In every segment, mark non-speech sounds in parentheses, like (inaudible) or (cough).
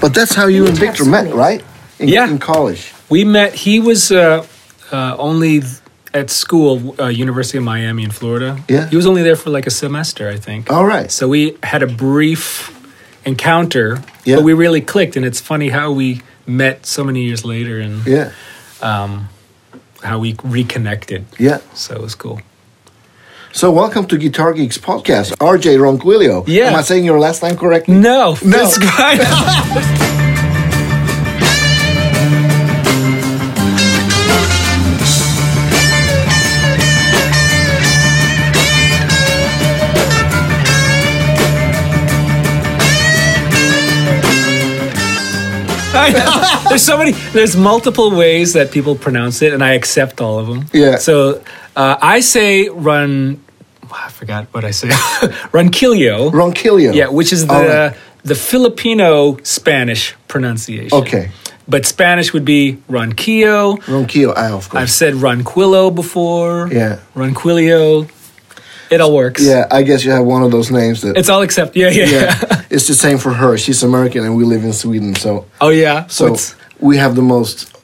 But that's how you We and have Victor met, swimming. right? In, Yeah. In college. We met. He was uh, uh, only th- at school, uh, University of Miami in Florida. Yeah. Oh. he was only there for like a semester, I think. All right. So we had a brief encounter, Yeah. but we really clicked, and it's funny how we met so many years later and Yeah. how we reconnected. Yeah. So it was cool. So welcome to Guitar Geeks podcast. RJ Ronquillo. Yeah. Am I saying your last name correctly? No, No. this guy. (laughs) I know. There's so many. There's multiple ways that people pronounce it, and I accept all of them. Yeah. So uh, I say run. I forgot what I say. (laughs) Runquillo. Ronquillo. Yeah, which is the All right. the Filipino Spanish pronunciation. Okay. But Spanish would be Ronquillo. Ronquillo. I of course. I've said Ronquillo before. Yeah. Ronquillo. It all works. yeah. I guess you have one of those names that. It's all except yeah, yeah. yeah. yeah. it's the same for her. She's American and we live in Sweden. So (laughs) Oh yeah. So What's- we have the most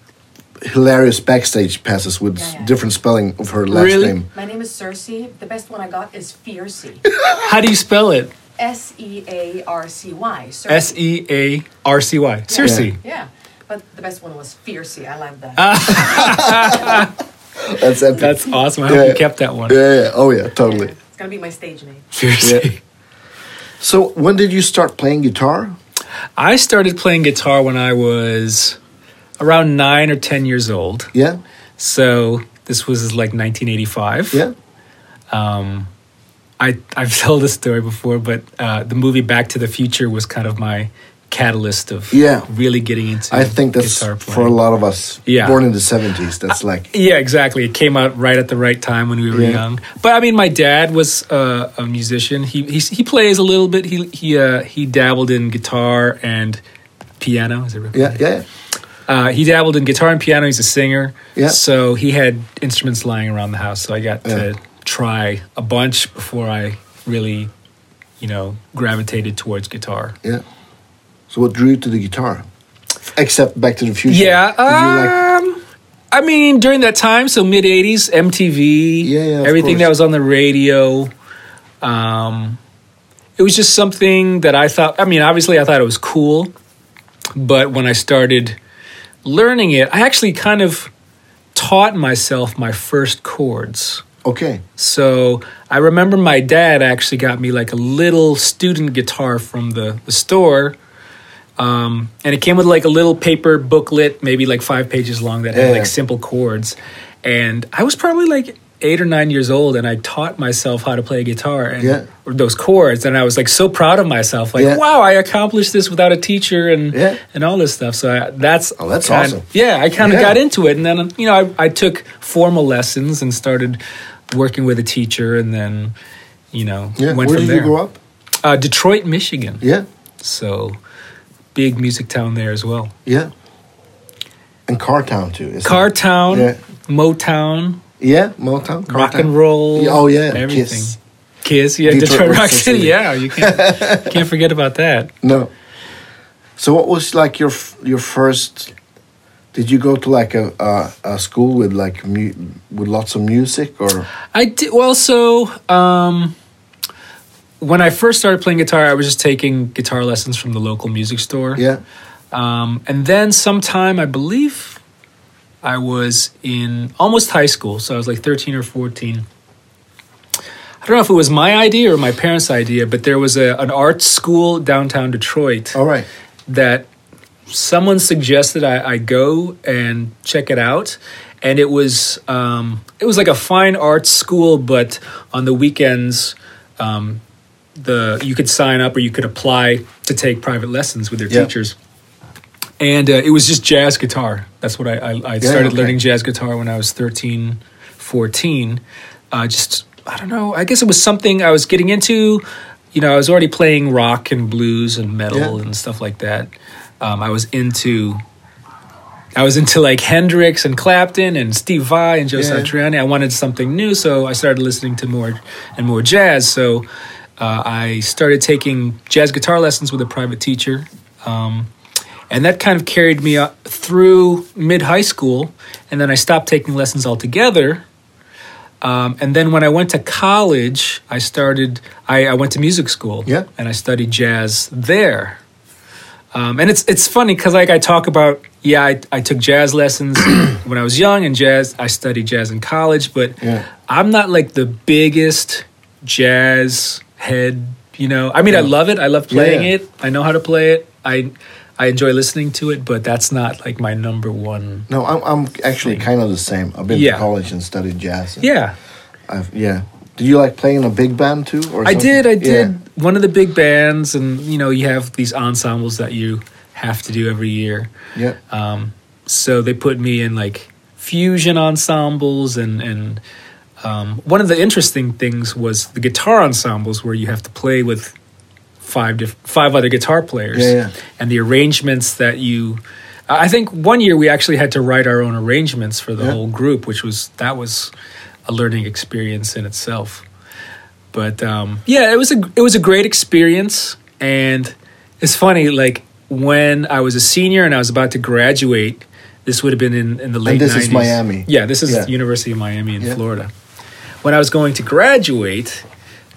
hilarious backstage passes with Yeah, yeah. different spelling of her last Really? name. My name is Cersei. The best one I got is Fiercy. how do you spell it? S E A R C Y. Cersei. S E A R C Y. Cersei. Yeah. But the best one was Fiercy. I love that. That's epic. That's awesome. I hope Yeah. you kept that one. yeah, yeah. Oh yeah, Yeah, totally. It's going to be my stage name. Cersei. Yeah. So when did you start playing guitar? (laughs) I started playing guitar when I was around nine or ten years old. Yeah, So this was like 1985. yeah. I, I've (laughs) told this story before, but uh, the movie Back to the Future was kind of my catalyst of Yeah. really getting into I think that's guitar for a playing. lot of us Yeah. born in the seventies. That's like Yeah, exactly. It came out right at the right time when we were Yeah. young. But I mean, my dad was uh, a musician. He, he he plays a little bit. He he uh, he dabbled in guitar and piano. Is it right? yeah, yeah, Uh, he dabbled in guitar and piano. He's a singer. Yeah. So he had instruments lying around the house. So I got Yeah. to try a bunch before I really, you know, gravitated towards guitar. yeah. So what drew you to the guitar? Except Back to the Future. Yeah. Did you like- um, I mean, during that time, so mid 80s, MTV, Yeah, yeah, of everything that course. was on the radio. Um, it was just something that I thought, I mean, obviously, I thought it was cool. But when I started learning it, I actually kind of taught myself my first chords. okay. So I remember my dad actually got me like a little student guitar from the, the store. Um, and it came with like a little paper booklet, maybe like five pages long, that had Yeah. like simple chords. And I was probably like eight or nine years old, and I taught myself how to play guitar and Yeah. or those chords. And I was like so proud of myself, like Yeah. wow, I accomplished this without a teacher and Yeah. and all this stuff. So I, that's Oh, that's kind- awesome. Yeah, I kind of Yeah. got into it, and then you know I, I took formal lessons and started working with a teacher, and then you know Yeah. went Where from did there. you grow up? Uh, Detroit, Michigan. Yeah, So big music town there as well. yeah. And Cartown too. isn't Car it? town, Yeah. Motown, Yeah, Motown. Car rock town. and roll. Yeah, oh yeah, everything. Kiss. Kiss, yeah, Detroit Detroit, Rock Rock City. City. Yeah, you (laughs) can't can't forget about that. No. So what was like your f- your first? Did you go to like a a, a school with like mu- with lots of music or? I did well. So um, when I first started playing guitar, I was just taking guitar lessons from the local music store. Yeah. Um, and then sometime, I believe I was in almost high school, so I was like 13 or 14. I don't know if it was my idea or my parents' idea, but there was a, an art school downtown Detroit All right. that someone suggested I, I go and check it out. And it was um, it was like a fine arts school, but on the weekends, um, the you could sign up or you could apply to take private lessons with their Yeah. teachers. And uh, it was just jazz guitar. That's what I, I, I started okay. learning jazz guitar when I was 13, 14. Uh, just, I don't know, I guess it was something I was getting into. You know, I was already playing rock and blues and metal Yeah. and stuff like that. Um, I was into. I was into like Hendrix and Clapton and Steve Vai and Joe Yeah. Satriani. I wanted something new, so I started listening to more and more jazz. So uh, I started taking jazz guitar lessons with a private teacher. Um, And that kind of carried me up through mid high school. And then I stopped taking lessons altogether. Um, and then when I went to college, I started, I, I went to music school. Yeah. And I studied jazz there. Um, and it's it's funny because like I talk about yeah I, I took jazz lessons (clears throat) when I was young and jazz I studied jazz in college but Yeah. I'm not like the biggest jazz head you know I mean I love it I love playing Yeah. it I know how to play it I I enjoy listening to it but that's not like my number one No, I'm, I'm actually kind of the same. I've been Yeah. to college and studied jazz. and yeah I've, yeah. Did you like playing in a big band too? Or I something? did I did Yeah. one of the big bands and you know you have these ensembles that you have to do every year Yeah. Um, so they put me in like fusion ensembles and and um, one of the interesting things was the guitar ensembles where you have to play with five diff- five other guitar players Yeah, yeah. and the arrangements that you I I think one year we actually had to write our own arrangements for the Yeah. whole group which was that was a learning experience in itself but um, yeah, it was a it was a great experience, and it's funny. Like when I was a senior and I was about to graduate, this would have been in, in the late. this is 90s. Miami. Yeah, this is Yeah. the University of Miami in Yeah. Florida. When I was going to graduate,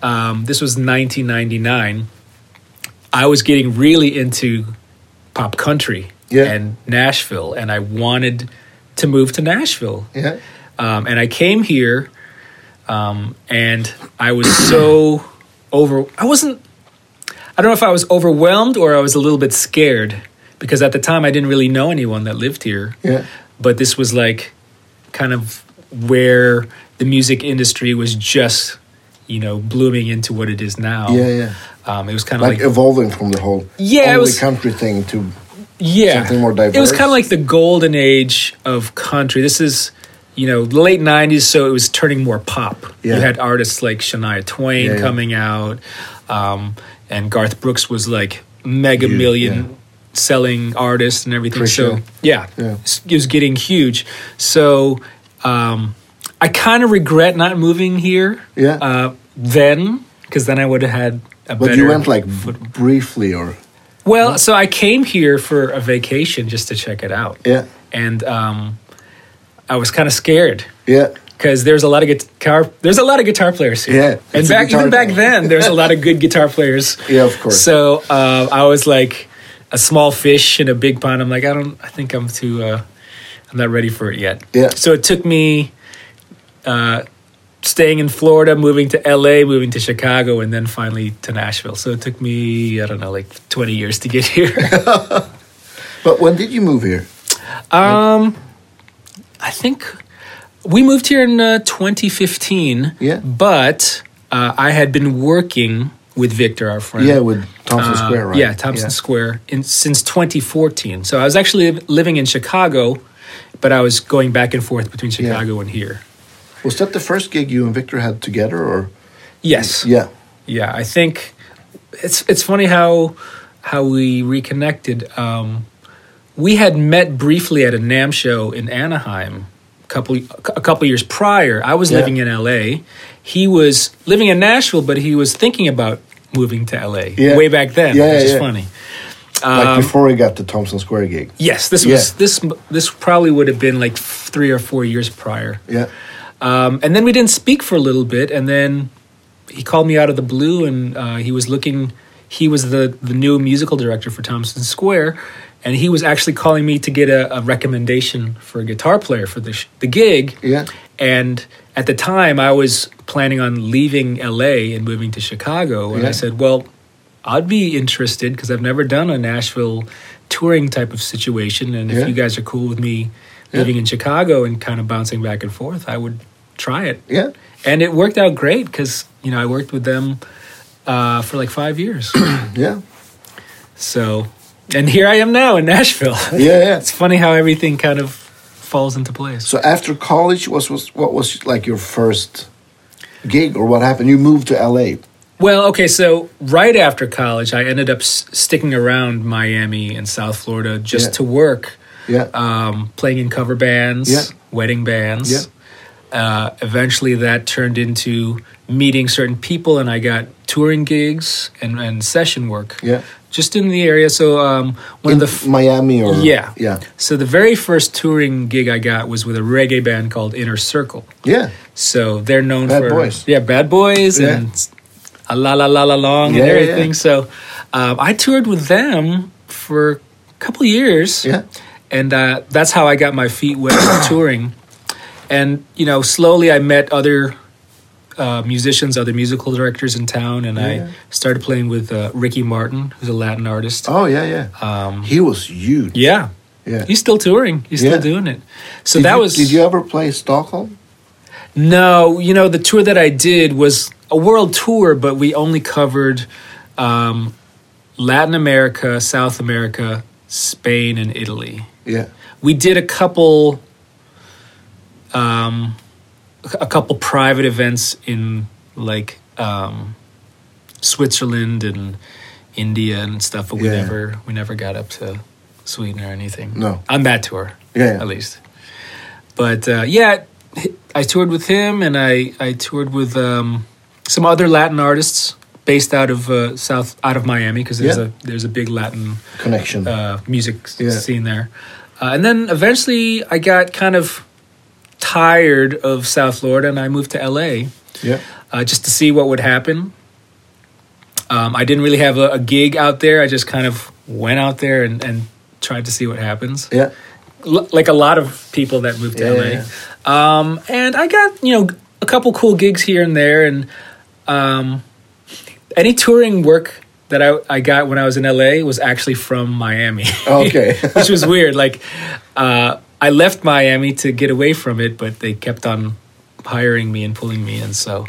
um, this was 1999. I was getting really into pop country Yeah. and Nashville, and I wanted to move to Nashville Yeah. um, and I came here, um, and I was (clears throat) so over. I wasn't. I don't know if I was overwhelmed or I was a little bit scared because at the time I didn't really know anyone that lived here. Yeah. But this was like kind of where the music industry was just, you know, blooming into what it is now. Yeah, yeah. Um, it was kind of Like like, evolving from the whole Yeah, it only was- country thing to yeah, something more It was kind diverse. of like the golden age of country. This is, you know, the late '90s, so it was turning more pop. Yeah. You had artists like Shania Twain Yeah, yeah. coming out, um, and Garth Brooks was like mega Huge, million yeah. selling artist and everything. Christian. So yeah, Yeah. s- it was getting huge. So um, I kind of regret not moving here. Yeah. Uh, then, because then I would have had. A But better you went like v- briefly or well, so I came here for a vacation just to check it out. Yeah. And um, I was kind of scared Yeah. because there's a lot of guitar there's a lot of guitar players here. Yeah, And it's a back guitar even back town. (laughs) then there's a lot of good guitar players. Yeah, of course. So uh, I was like a small fish in a big pond. I'm like I don't I think I'm too uh, I'm not ready for it yet. Yeah. So it took me uh, staying in Florida, moving to LA, moving to Chicago, and then finally to Nashville. So it took me, I don't know, like 20 years to get (laughs) here. But when did you move here? um, I think we moved here in uh, 2015. Yeah. But uh, I had been working with Victor, our friend. Yeah, with Thompson Uh, Square, right? Yeah, Thompson Square in, since 2014. So I was actually liv- living in Chicago, but I was going back and forth between Chicago and here. Was that the first gig you and Victor had together or Yes. Yeah. yeah i think it's it's funny how how we reconnected um we had met briefly at a nam show in anaheim a couple a couple years prior i was Yeah. living in la he was living in nashville but he was thinking about moving to la Yeah. way back then Yeah, which yeah, is yeah. funny Like Um, before he got the Thompson Square gig. yes this Yeah. was this this probably would have been like f- 3 or 4 years prior Yeah. um, and then we didn't speak for a little bit, and then he called me out of the blue, and uh, he was looking. He was the the new musical director for Thompson Square, and he was actually calling me to get a, a recommendation for a guitar player for the sh- the gig. Yeah. And at the time, I was planning on leaving LA and moving to Chicago, and Yeah. I said, "Well, I'd be interested because I've never done a Nashville touring type of situation, and Yeah. if you guys are cool with me Yeah. living in Chicago and kind of bouncing back and forth, I would try it." Yeah. And it worked out great because you know I worked with them uh, for like five (clears throat) years, Yeah. so and here I am now in Nashville. Yeah, yeah. (laughs) it's funny how everything kind of falls into place. So after college was, was what was like your first gig or what happened? You moved to LA. Well, okay, so right after college, I ended up s- sticking around Miami and South Florida just Yeah. to work, Yeah. um, playing in cover bands, Yeah. wedding bands. Yeah. Uh, eventually, that turned into meeting certain people, and I got touring gigs and, and session work Yeah. just in the area. So um, one in of the f- Miami or yeah yeah, So the very first touring gig I got was with a reggae band called Inner Circle. yeah. So they're known Bad for Boys. yeah, Bad Boys Yeah. and a la la la la long Yeah, and yeah, yeah. everything. So um, I toured with them for a couple years, Yeah. and uh, that's how I got my feet (coughs) wet with touring. And you know, slowly I met other uh, musicians, other musical directors in town, and Yeah. I started playing with uh, Ricky Martin, who's a Latin artist. Oh yeah, yeah. Um, he was huge. yeah. yeah. He's still touring. He's Yeah. still doing it. So Did that you- was. Did you ever play Stockholm? No, you know, the tour that I did was a world tour, but we only covered um, Latin America, South America, Spain, and Italy. Yeah. We did a couple, um, a couple private events in like um, Switzerland and India and stuff, but we Yeah. never we never got up to Sweden or anything. No. on that tour Yeah. at least. But uh, yeah, h- I toured with him, and I I toured with um, some other Latin artists based out of uh, South out of Miami because there's Yeah. a there's a big Latin Connection. uh, music s- Yeah. scene there, uh, and then eventually I got kind of tired of South Florida, and I moved to LA yeah. uh, just to see what would happen. Um, I didn't really have a, a gig out there. I just kind of went out there and, and tried to see what happens Yeah. l- like a lot of people that moved to Yeah, LA. yeah, Um, and I got you know a couple cool gigs here and there, and um, any touring work that I, I got when I was in LA was actually from Miami. Okay. (laughs) (laughs) which was weird. Like uh, I left Miami to get away from it, but they kept on hiring me and pulling me in. So,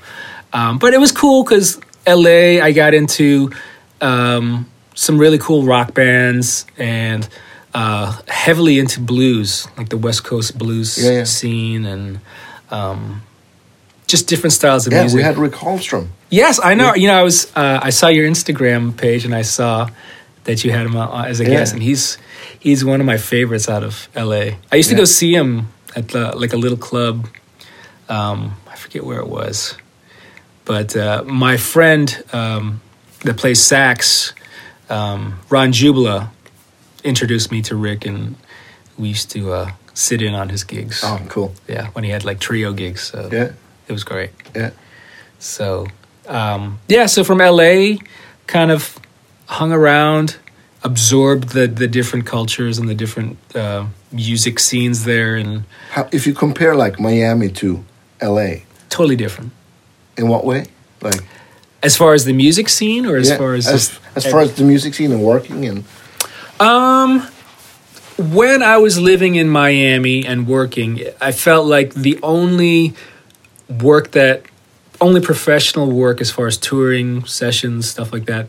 um, but it was cool because LA, I got into um, some really cool rock bands and uh, heavily into blues, like the West Coast blues Yeah, yeah. scene and. Um, just different styles of Yeah, music. we had Rick Holmstrom. Yes, I know. You know, I was uh, I saw your Instagram page and I saw that you had him on, as a Yeah. guest, and he's he's one of my favorites out of L.A. I used to Yeah. go see him at the, like a little club. Um, I forget where it was, but uh, my friend um, that plays sax, um, Ron Jubila, introduced me to Rick, and we used to uh, sit in on his gigs. Oh, cool. Yeah, when he had like trio gigs, so Yeah. it was great. Yeah. So, um, yeah, so from LA, kind of hung around, absorbed the, the different cultures and the different uh, music scenes there, and How, if you compare like Miami to LA, totally different. in what way? Like As far as the music scene, or as yeah, far as, as, just as far as the music scene and working and Um, when I was living in Miami and working, I felt like the only work that, only professional work as far as touring sessions, stuff like that,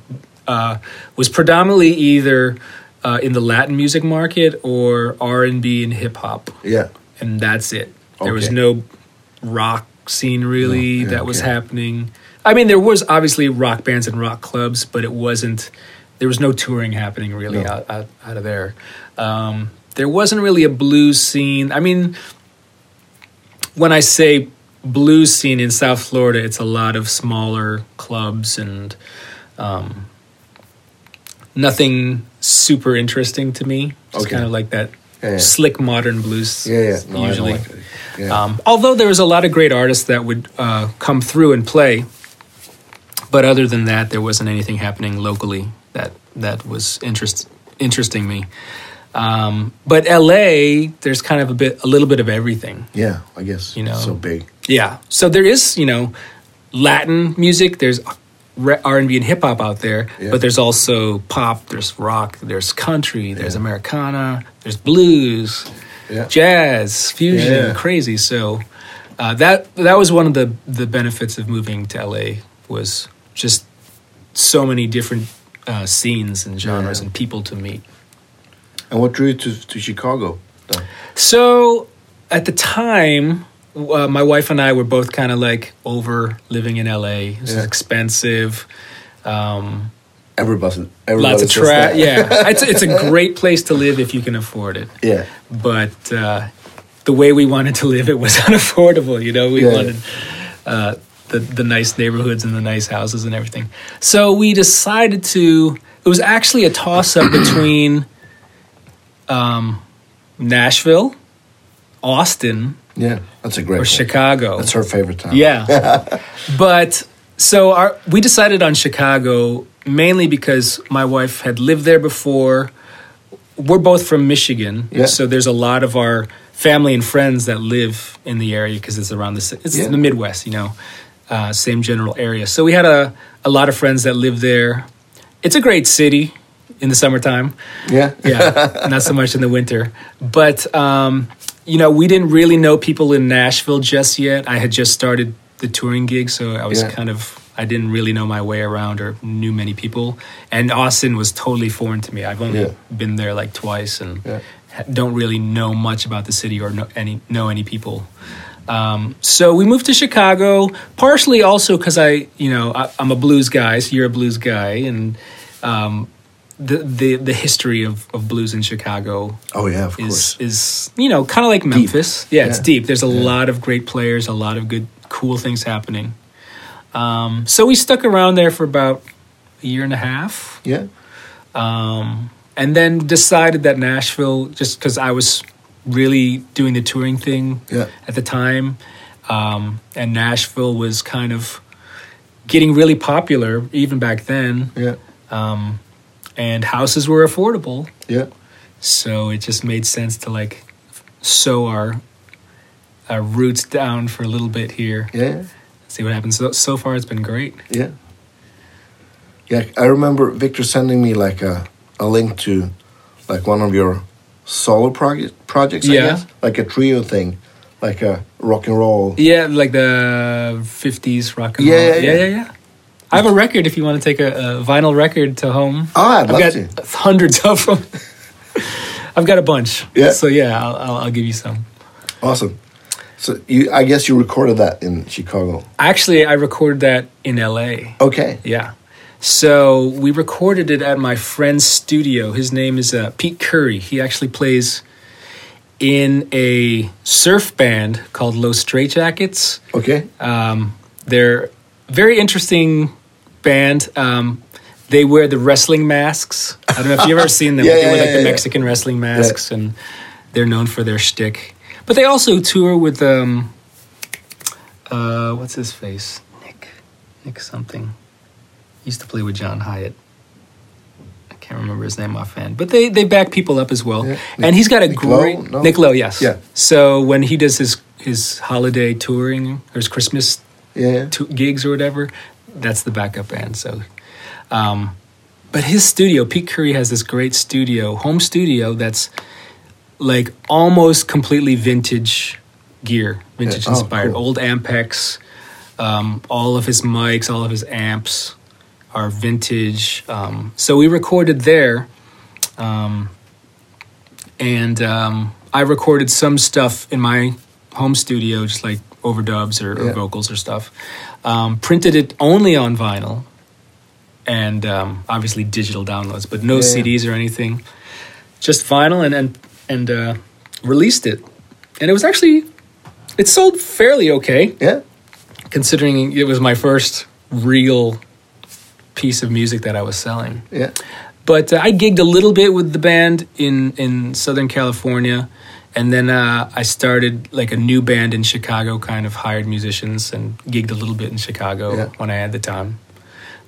uh, was predominantly either uh, in the Latin music market or R and B and hip hop, yeah. and that's it. There was Okay. no rock scene No, really yeah, that was okay. happening. I mean, there was obviously rock bands and rock clubs, but it wasn't. There was no touring happening really No. out, out out of there. Um, there wasn't really a blues scene. I mean, when I say blues scene in South Florida, it's a lot of smaller clubs and um, nothing super interesting to me. It's Okay. kind of like that Yeah, yeah. slick modern blues. Yeah, yeah. No, I don't usually. like it. yeah. Um, although there was a lot of great artists that would uh, come through and play, but other than that, there wasn't anything happening locally that that was interest interesting me. Um, but LA, there's kind of a bit, a little bit of everything. yeah, I guess. you know. so big. Yeah. So there is, you know, Latin music. There's R and B and hip hop out there, Yeah. but there's also pop. There's rock. There's country. There's Yeah. Americana. There's blues, Yeah. jazz, fusion, Yeah. crazy. So uh, that that was one of the the benefits of moving to LA was just so many different uh, scenes and genres Yeah. and people to meet. And what drew you to, to Chicago? though? So at the time, uh, my wife and I were both kind of like over living in LA. This Yeah. is expensive. Um, Everybody, everybody lots of says tra that. (laughs) Yeah, it's, it's a great place to live if you can afford it. Yeah. But uh, the way we wanted to live, it was (laughs) unaffordable. You know, we Yeah. wanted uh, the the nice neighborhoods and the nice houses and everything. So we decided to it was actually a (coughs) toss up between um, Nashville, Austin, Yeah, that's a great. or one. Chicago. That's her favorite town. Yeah. (laughs) but so our we decided on Chicago mainly because my wife had lived there before. We're both from Michigan, Yeah. so there's a lot of our family and friends that live in the area because it's around the si- it's Yeah. the Midwest, you know, uh, same general area. So we had a a lot of friends that live there. It's a great city in the summertime yeah, yeah, not so much in the winter. But um, you know, we didn't really know people in Nashville just yet. I had just started the touring gig, so I was Yeah. kind of I didn't really know my way around or knew many people. And Austin was totally foreign to me. I've only Yeah. been there like twice and Yeah. ha- don't really know much about the city or know any know any people. Um, so we moved to Chicago, partially also because I, you know, I, I'm a blues guy. So you're a blues guy, and um, the, the the history of, of blues in Chicago Oh yeah, of is course. is you know kind of like Memphis. Yeah, it's Yeah. deep. There's a lot of great players, a lot of good cool things happening. Um, so we stuck around there for about a year and a half yeah, Um, and then decided that Nashville, just because I was really doing the touring thing Yeah. at the time, um, and Nashville was kind of getting really popular even back then, yeah, and houses were affordable, yeah, so it just made sense to like sow our our roots down for a little bit here, yeah, see what happens. So, so far, it's been great. yeah. Yeah, I remember Victor sending me like a a link to like one of your solo proge- projects. I Yeah. guess. like a trio thing, like a rock and roll. Yeah, like the '50s rock and Yeah, roll. yeah, yeah. yeah, yeah, yeah. I have a record if you want to take a, a vinyl record to home. Oh, I'd I've love got to. hundreds of them. (laughs) I've got a bunch. Yeah. So yeah, I'll, I'll, I'll give you some. Awesome. So you, I guess you recorded that in Chicago. Actually, I recorded that in L.A. Okay. Yeah. So we recorded it at my friend's studio. His name is uh, Pete Curry. He actually plays in a surf band called Los Straightjackets. Okay. Um, they're very interesting band. Um, they wear the wrestling masks. I don't know if you've ever seen (laughs) them. Yeah, they yeah, wear like yeah, the yeah. Mexican wrestling masks, and they're known for their shtick. But they also tour with um, uh, what's his face, Nick, Nick something. He used to play with John Hyatt. I can't remember his name offhand, but they they back people up as well. Yeah. And he's got a Nick Lowe? great No? Nick Lowe, yes. Yeah. So when he does his his holiday touring or his Christmas yeah. two gigs or whatever, that's the backup band. So, um, but his studio, Pete Curry has this great studio, home studio that's like almost completely vintage gear, vintage Yeah. Oh, inspired, cool. old Ampex. Um, all of his mics, all of his amps are vintage. Um, so we recorded there, um, and um, I recorded some stuff in my home studio, just like overdubs or, or Yeah. vocals or stuff. Um, printed it only on vinyl, and um, obviously digital downloads, but no Yeah, yeah. CDs or anything. Just vinyl, and and and uh, released it, and it was actually it sold fairly okay Yeah. considering it was my first real piece of music that I was selling. Yeah. But uh, I gigged a little bit with the band in in Southern California, and then uh, I started like a new band in Chicago, kind of hired musicians and gigged a little bit in Chicago Yeah. when I had the time.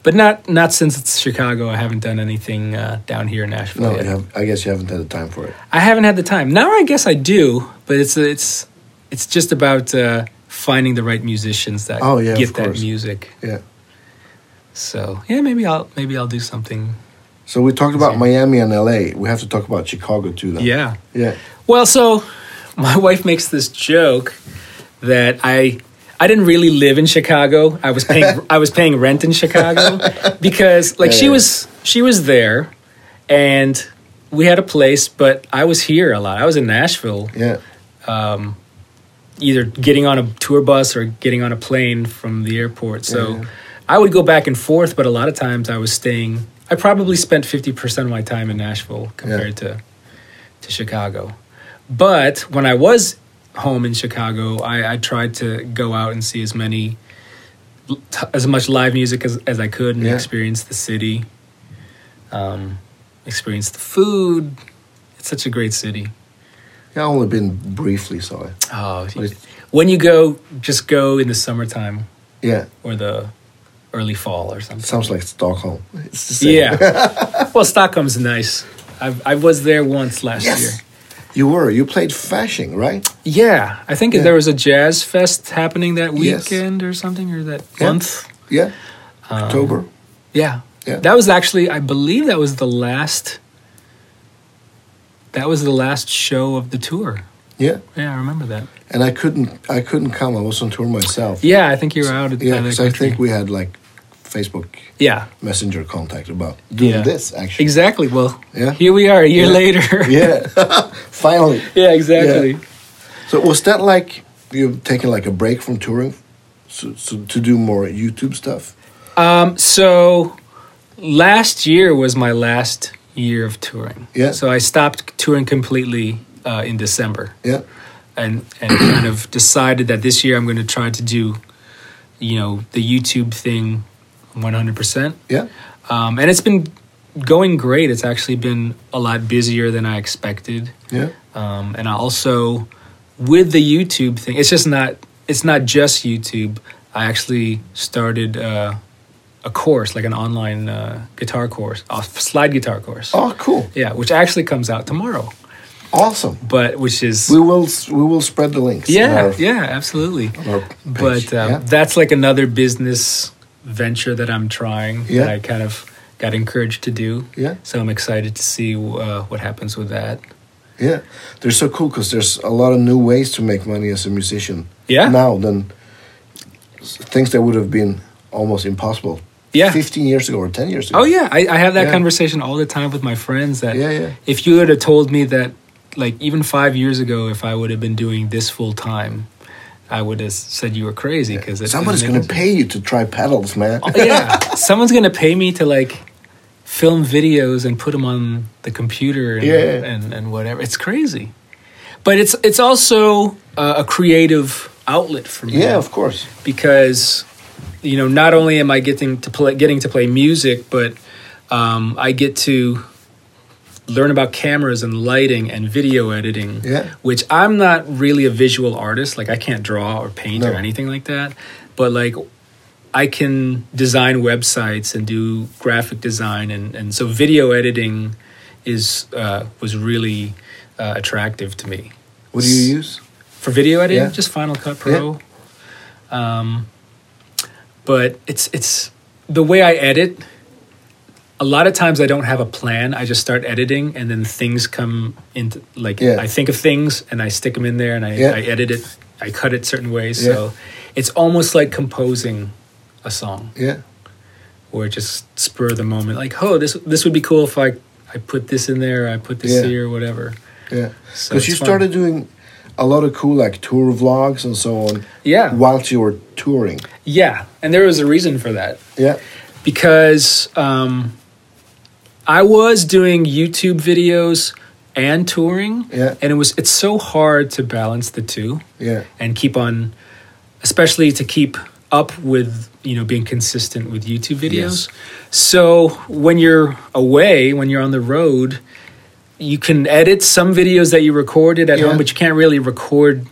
But not not since it's Chicago. I haven't done anything uh, down here in Nashville. No, yet. you have, I guess you haven't had the time for it. I haven't had the time. Now I guess I do, but it's it's it's just about uh, finding the right musicians that Oh, yeah, get of that course. music. Yeah. So yeah, maybe I'll maybe I'll do something. So we talked about Yeah. Miami and LA. We have to talk about Chicago too. Then. Yeah. Yeah. Well, so my (laughs) wife makes this joke that I I didn't really live in Chicago. I was paying I was paying rent in Chicago because like she Yeah. was she was there and we had a place, but I was here a lot. I was in Nashville. Yeah. either getting on a tour bus or getting on a plane from the airport. So Yeah. I would go back and forth, but a lot of times I was staying. I probably spent 50% of my time in Nashville compared to to Chicago. But when I was home in Chicago, I, I tried to go out and see as many as much live music as, as I could and Yeah. experience the city. um, experience the food. It's such a great city. Yeah, I only been briefly, so I, Oh, But it's- when you go, just go in the summertime yeah, or the early fall or something. sounds like Stockholm. It's the same. Yeah. (laughs) well, Stockholm's nice. I, I was there once last year. Yes. You were. You played Fashing, right? Yeah, I think Yeah. there was a jazz fest happening that Yes. weekend or something or that Yeah. month. Yeah. October. Yeah. Yeah. Um, That was actually I believe that was the last that was the last show of the tour. Yeah. Yeah, I remember that. And I couldn't. I couldn't come. I was on tour myself. Yeah, I think you were out at Yeah. the Because I think we had like Facebook Yeah. Messenger contact about doing Yeah. this. Actually. Exactly. Well, Yeah. here we are a year Yeah. later. Yeah. (laughs) Finally. (laughs) yeah, exactly. So was that like you've taken like a break from touring, so, so to do more YouTube stuff? Um, so last year was my last year of touring. Yeah. So I stopped touring completely uh, in December. Yeah. and and kind of decided that this year I'm going to try to do, you know, the YouTube thing, 100. percent Yeah. um, And it's been going great. It's actually been a lot busier than I expected. Yeah. Um, and I also with the YouTube thing, it's just not it's not just YouTube. I actually started uh, a course, like an online uh, guitar course, a slide guitar course. Oh, cool. Yeah, which actually comes out tomorrow, Awesome. but which is We will s- we will spread the links. on yeah, our- yeah, absolutely. on our page. but um, yeah. that's like another business venture that I'm trying that Yeah. I kind of got encouraged to do. Yeah. So I'm excited to see uh, what happens with that. yeah, they're so cool because there's a lot of new ways to make money as a musician. Yeah. Now than s- things that would have been almost impossible. Yeah. Fifteen years ago or ten years ago. Oh yeah, I, I have that Yeah. conversation all the time with my friends. That Yeah, yeah. if you would have told me that, like even five years ago, if I would have been doing this full time, I would have said you were crazy because Somebody's gonna pay you to try pedals, man. Oh, yeah, someone's gonna pay me to like film videos and put them on the computer and Yeah. and, and whatever. It's crazy, but it's it's also uh, a creative outlet for me. yeah, of course. because you know not only am I getting to play getting to play music, but um, I get to learn about cameras and lighting and video editing Yeah. which i'm not really a visual artist like i can't draw or paint or No. anything like that but like I can design websites and do graphic design, and, and so video editing is uh, was really uh, attractive to me What do you use? for video editing. Yeah. Just Final Cut Pro. Um, but it's it's the way I edit. A lot of times I don't have a plan. I just start editing, and then things come into like Yeah. I think of things and I stick them in there, and I, Yeah. I edit it. I cut it certain ways, Yeah. so it's almost like composing a song Yeah. or just spur of the moment, like, oh, this this would be cool if I I put this in there, I put this Yeah. here, whatever. Yeah, So because it's you fun. started doing a lot of cool like tour vlogs and so on. Yeah. whilst you were touring. Yeah, and there was a reason for that Yeah, because um, I was doing YouTube videos and touring, Yeah. and it was it's so hard to balance the two yeah, and keep on, especially to keep up with you know being consistent with YouTube videos. So when you're away, when you're on the road, you can edit some videos that you recorded at Yeah. home, but you can't really record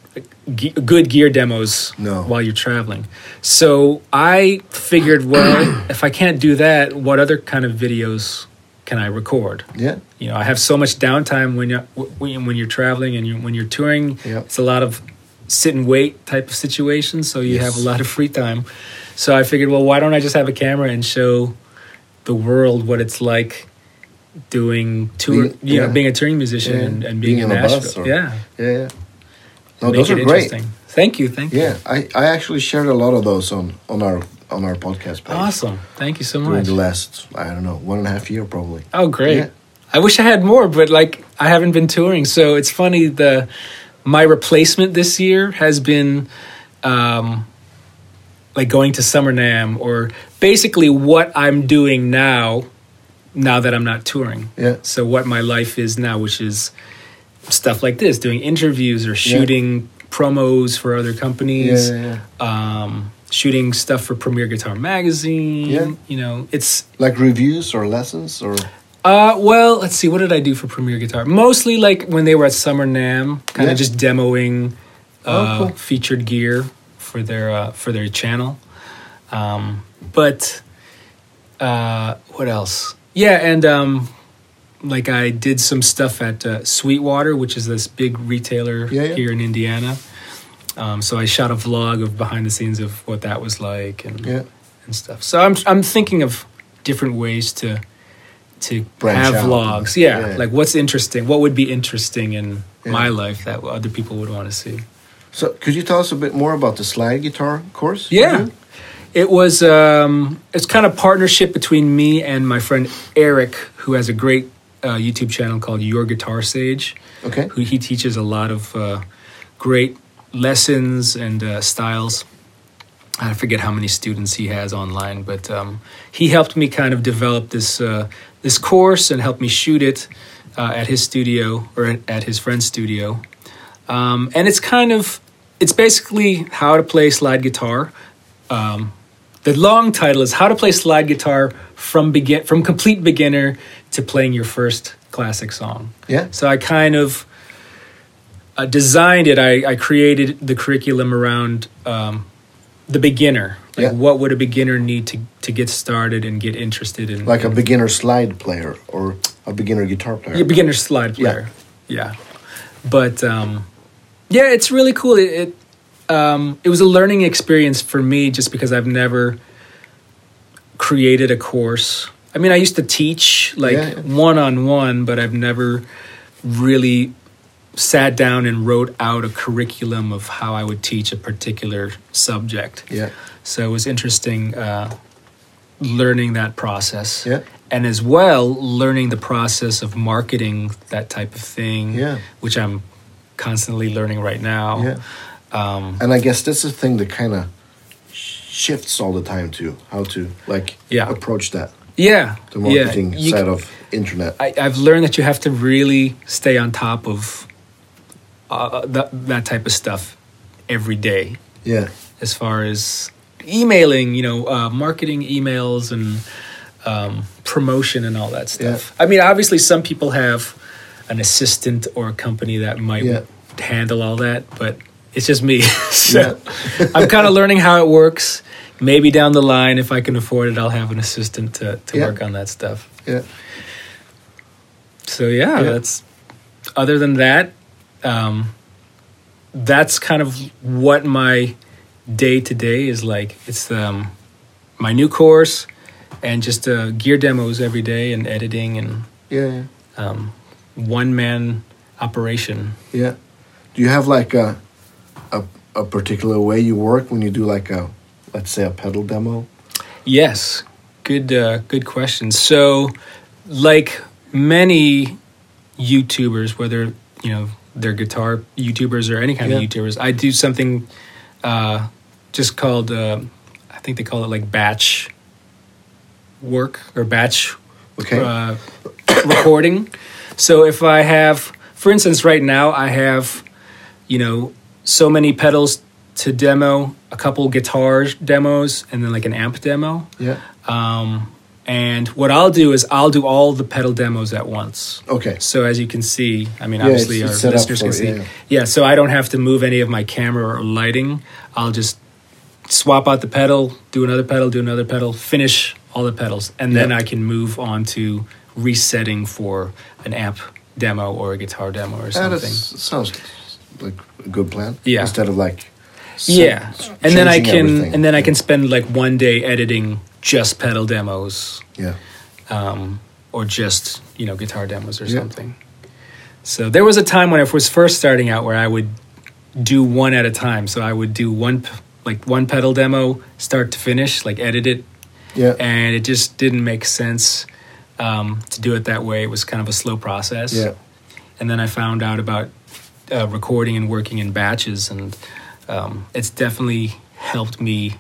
ge- good gear demos No. while you're traveling. So I figured, well, if I can't do that, what other kind of videos can I record? yeah, you know, I have so much downtime when you're when, when you're traveling and you, when you're touring. Yep. It's a lot of sit and wait type of situation, so you have Yes. a lot of free time. So I figured, well, why don't I just have a camera and show the world what it's like doing tour, Being- you know, yeah. being a touring musician Yeah. and, and being, Being in on a Nashville. bus or- yeah, yeah. yeah. No, Make those it are great. interesting. Thank you, thank Yeah, you. I, I actually shared a lot of those on on our on our podcast page. Awesome, thank you so During much. the last I don't know one and a half year probably. Oh, great. Yeah. I wish I had more, but like I haven't been touring, so it's funny. The my replacement this year has been um, like going to Summer Nam, or basically what I'm doing now, now that I'm not touring. Yeah. So what my life is now, which is stuff like this, doing interviews or shooting promos for other Yeah, companies, yeah, yeah. um, shooting stuff for Premier Guitar Magazine. Yeah. You know, it's like reviews or lessons or Uh, well, let's see. What did I do for Premier Guitar? Mostly like when they were at Summer Nam, kind of Yeah. Oh, just demoing uh, cool. featured gear for their uh, for their channel. Um, but uh, what else? Yeah, and um, like I did some stuff at uh, Sweetwater, which is this big retailer Yeah, yeah. here in Indiana. Um, so I shot a vlog of behind the scenes of what that was like and Yeah. and stuff. So I'm I'm thinking of different ways to to Branch have out. vlogs. Yeah, Yeah. like what's interesting, what would be interesting in Yeah. Mm-hmm. my life that other people would want to see. So could you tell us a bit more about the slide guitar course? you Yeah. do? It was um, it's kind of partnership between me and my friend Eric, who has a great uh, YouTube channel called Your Guitar Sage. Okay. Who he teaches a lot of uh, great lessons and uh, styles. I forget how many students he has online, but um, he helped me kind of develop this uh, this course and helped me shoot it uh, at his studio or at, at his friend's studio. Um, and it's kind of it's basically how to play slide guitar. Um, the long title is how to play slide guitar from begin from complete beginner to playing your first classic song. Yeah. So I kind of uh, designed it. I, I created the curriculum around um, the beginner. Like Yeah. what would a beginner need to, to get started and get interested in Like a beginner slide player or a beginner guitar player. your beginner slide Yeah. player. Yeah. But um, yeah, it's really cool. It it, um, it was a learning experience for me just because I've never created a course. I mean, I used to teach Yeah, like yeah. one on one, but I've never really sat down and wrote out a curriculum of how I would teach a particular subject. Yeah. So it was interesting uh, learning that process. Yeah. And as well, learning the process of marketing that type of thing, Yeah. which I'm constantly learning right now. Yeah. Um, And I guess that's the thing that kind of shifts all the time too. How to like Yeah. approach that yeah. the yeah. marketing You side c- of internet. I, I've learned that you have to really stay on top of uh, that, that type of stuff every day. yeah. as far as emailing, you know, uh, marketing emails and um, promotion and all that stuff. I mean, obviously, some people have an assistant or a company that might Yeah. handle all that, but it's just me. (laughs) so I'm kind of learning how it works. Maybe down the line, if I can afford it, I'll have an assistant to, to Yeah. work on that stuff. Yeah. So yeah, Yeah. that's other than that, um, that's kind of what my day to day is like. It's um, my new course and just uh, gear demos every day and editing and Yeah. Yeah. um, one man operation. Yeah. Do you have like a, a a particular way you work when you do like a let's say a pedal demo? Yes, good uh, good question. So, like many YouTubers, whether you know they're guitar YouTubers or any kind of Yeah. YouTubers, I do something uh, just called uh, I think they call it like batch work or batch Okay. uh, recording. So if I have, for instance, right now I have, you know, so many pedals to demo, a couple guitar demos, and then like an amp demo. yeah. And what I'll do is I'll do all the pedal demos at once. Okay. So as you can see, I mean, Yeah, obviously it's- our it's set up listeners for can it, see. yeah. Yeah. so I don't have to move any of my camera or lighting. I'll just swap out the pedal, do another pedal, do another pedal, finish all the pedals, and then Yeah. I can move on to resetting for an amp demo or a guitar demo or That something. is, sounds like a good plan. Yeah. Instead of like. se- yeah, and then I changing can everything. and then I can spend like one day editing just pedal demos Yeah. um, or just you know guitar demos or Yeah. something. So there was a time when I was first starting out where I would do one at a time. So I would do one p- like one pedal demo, start to finish, like edit it, Yeah. and it just didn't make sense um, to do it that way. It was kind of a slow process. yeah. And then I found out about uh, recording and working in batches, and um, it's definitely helped me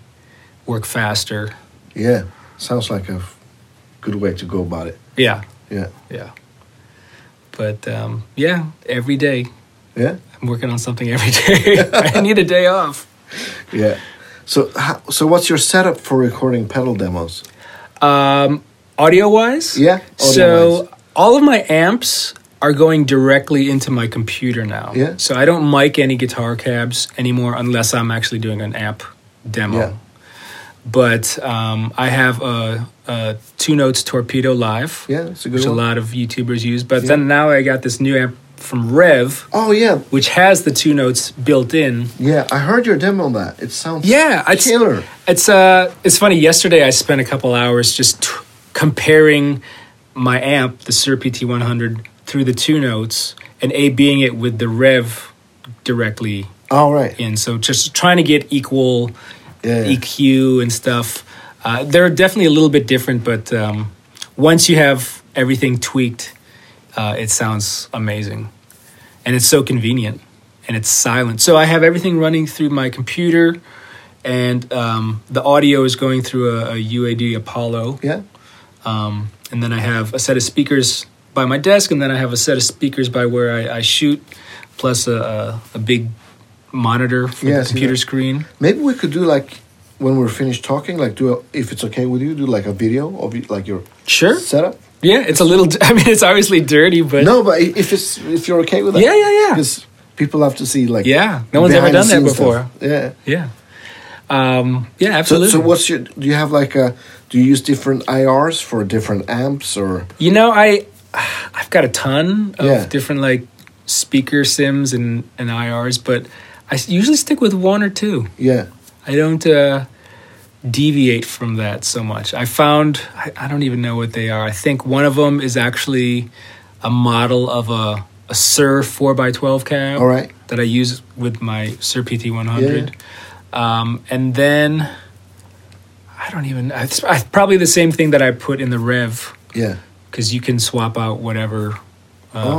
work faster. Yeah. Sounds like a f- good way to go about it. Yeah, Yeah. Yeah. But um, yeah, every day Yeah. I'm working on something every (laughs) day. I need a day off. Yeah. So how, so what's your setup for recording pedal demos? Um, audio wise, Yeah, So audio-wise. all of my amps are going directly into my computer now. Yeah. So I don't mic any guitar cabs anymore unless I'm actually doing an amp demo. Yeah. But um, I have a, a two notes torpedo live. Yeah, it's a good which one. a lot of YouTubers use. But Yeah. then now I got this new amp from Rev, Oh yeah, which has the two notes built in. yeah. I heard your demo on that. It sounds Yeah, it's- killer. It's uh, it's funny. Yesterday, I spent a couple hours just t- comparing my amp, the Sir PT100, through the two notes and A being it with the rev directly All right. in. So just trying to get equal Yeah. EQ and stuff. Uh, they're definitely a little bit different, but um, once you have everything tweaked, uh, it sounds amazing, and it's so convenient, and it's silent. So I have everything running through my computer, and um, the audio is going through a, a UAD Apollo, Yeah. um, and then I have a set of speakers by my desk, and then I have a set of speakers by where I, I shoot, plus a, a, a big monitor for Yeah, I the see computer that. screen. Maybe we could do like when we're finished talking, like do a, if it's okay with you, do like a video of you- like your Sure. setup. Yeah, it's a little. (laughs) I mean, it's obviously dirty, but No, but i- if it's if you're okay with that, Yeah, yeah, yeah. Because people have to see like Yeah, no one's ever behind the done that scenes before. stuff. Yeah. yeah, um, yeah, So, absolutely. so what's your? Do you have like a? Do you use different IRs for different amps or? You know, I I've got a ton of Yeah. different like speaker sims and and IRs, but I s- usually stick with one or two. Yeah. I don't uh, deviate from that so much. I found I, I don't even know what they are. I think one of them is actually a model of a a Sir four x twelve cab. All right. That I use with my Sir PT one Yeah, hundred, um, and then I don't even. I, it's probably the same thing that I put in the Rev Yeah. because you can swap out whatever. Uh,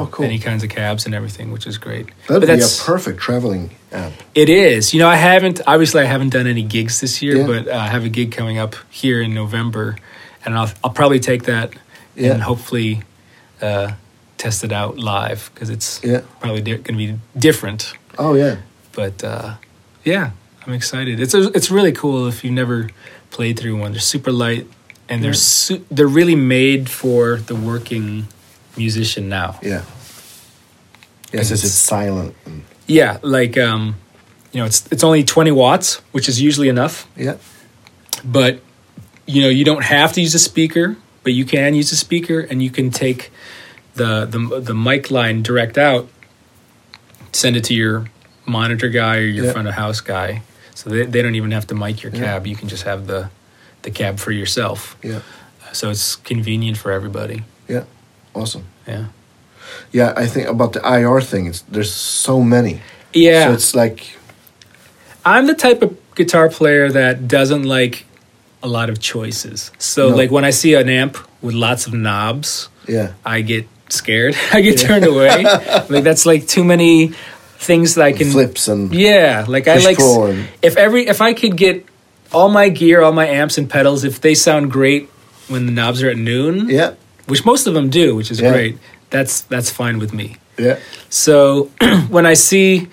Oh, cool. Any kinds of cabs and everything, which is great. That'd But be a that's- perfect traveling amp. it is. You know, I haven't, obviously, I haven't done any gigs this year, Yeah. but uh, I have a gig coming up here in November, and I'll, I'll probably take that Yeah. and hopefully uh, test it out live because it's Yeah. probably di- going to be different. Oh yeah. But uh, yeah, I'm excited. It's, a, it's really cool if you've never played through one. They're super light and they're, Yeah. su- they're really made for the working musician now. Yeah. Yes, it's, it's silent. and- Yeah, like um, you know, it's it's only twenty watts, which is usually enough. yeah. But you know, you don't have to use a speaker, but you can use a speaker, and you can take the the the mic line direct out, send it to your monitor guy or your Yeah. front of house guy, so they they don't even have to mic your Yeah. cab. You can just have the the cab for yourself. Yeah. So it's convenient for everybody. Yeah. Awesome. Yeah. Yeah, I think about the IR thing. It's, there's so many. Yeah. So it's like I'm the type of guitar player that doesn't like a lot of choices. So No. like when I see an amp with lots of knobs, yeah. I get scared. (laughs) I get turned (laughs) away. like that's like too many things that I can flips and Yeah, like I Push like s- pull and- if every if I could get all my gear, all my amps and pedals, if they sound great when the knobs are at noon, yeah. which most of them do, which is Yeah. great. That's that's fine with me. Yeah. So (clears throat) when I see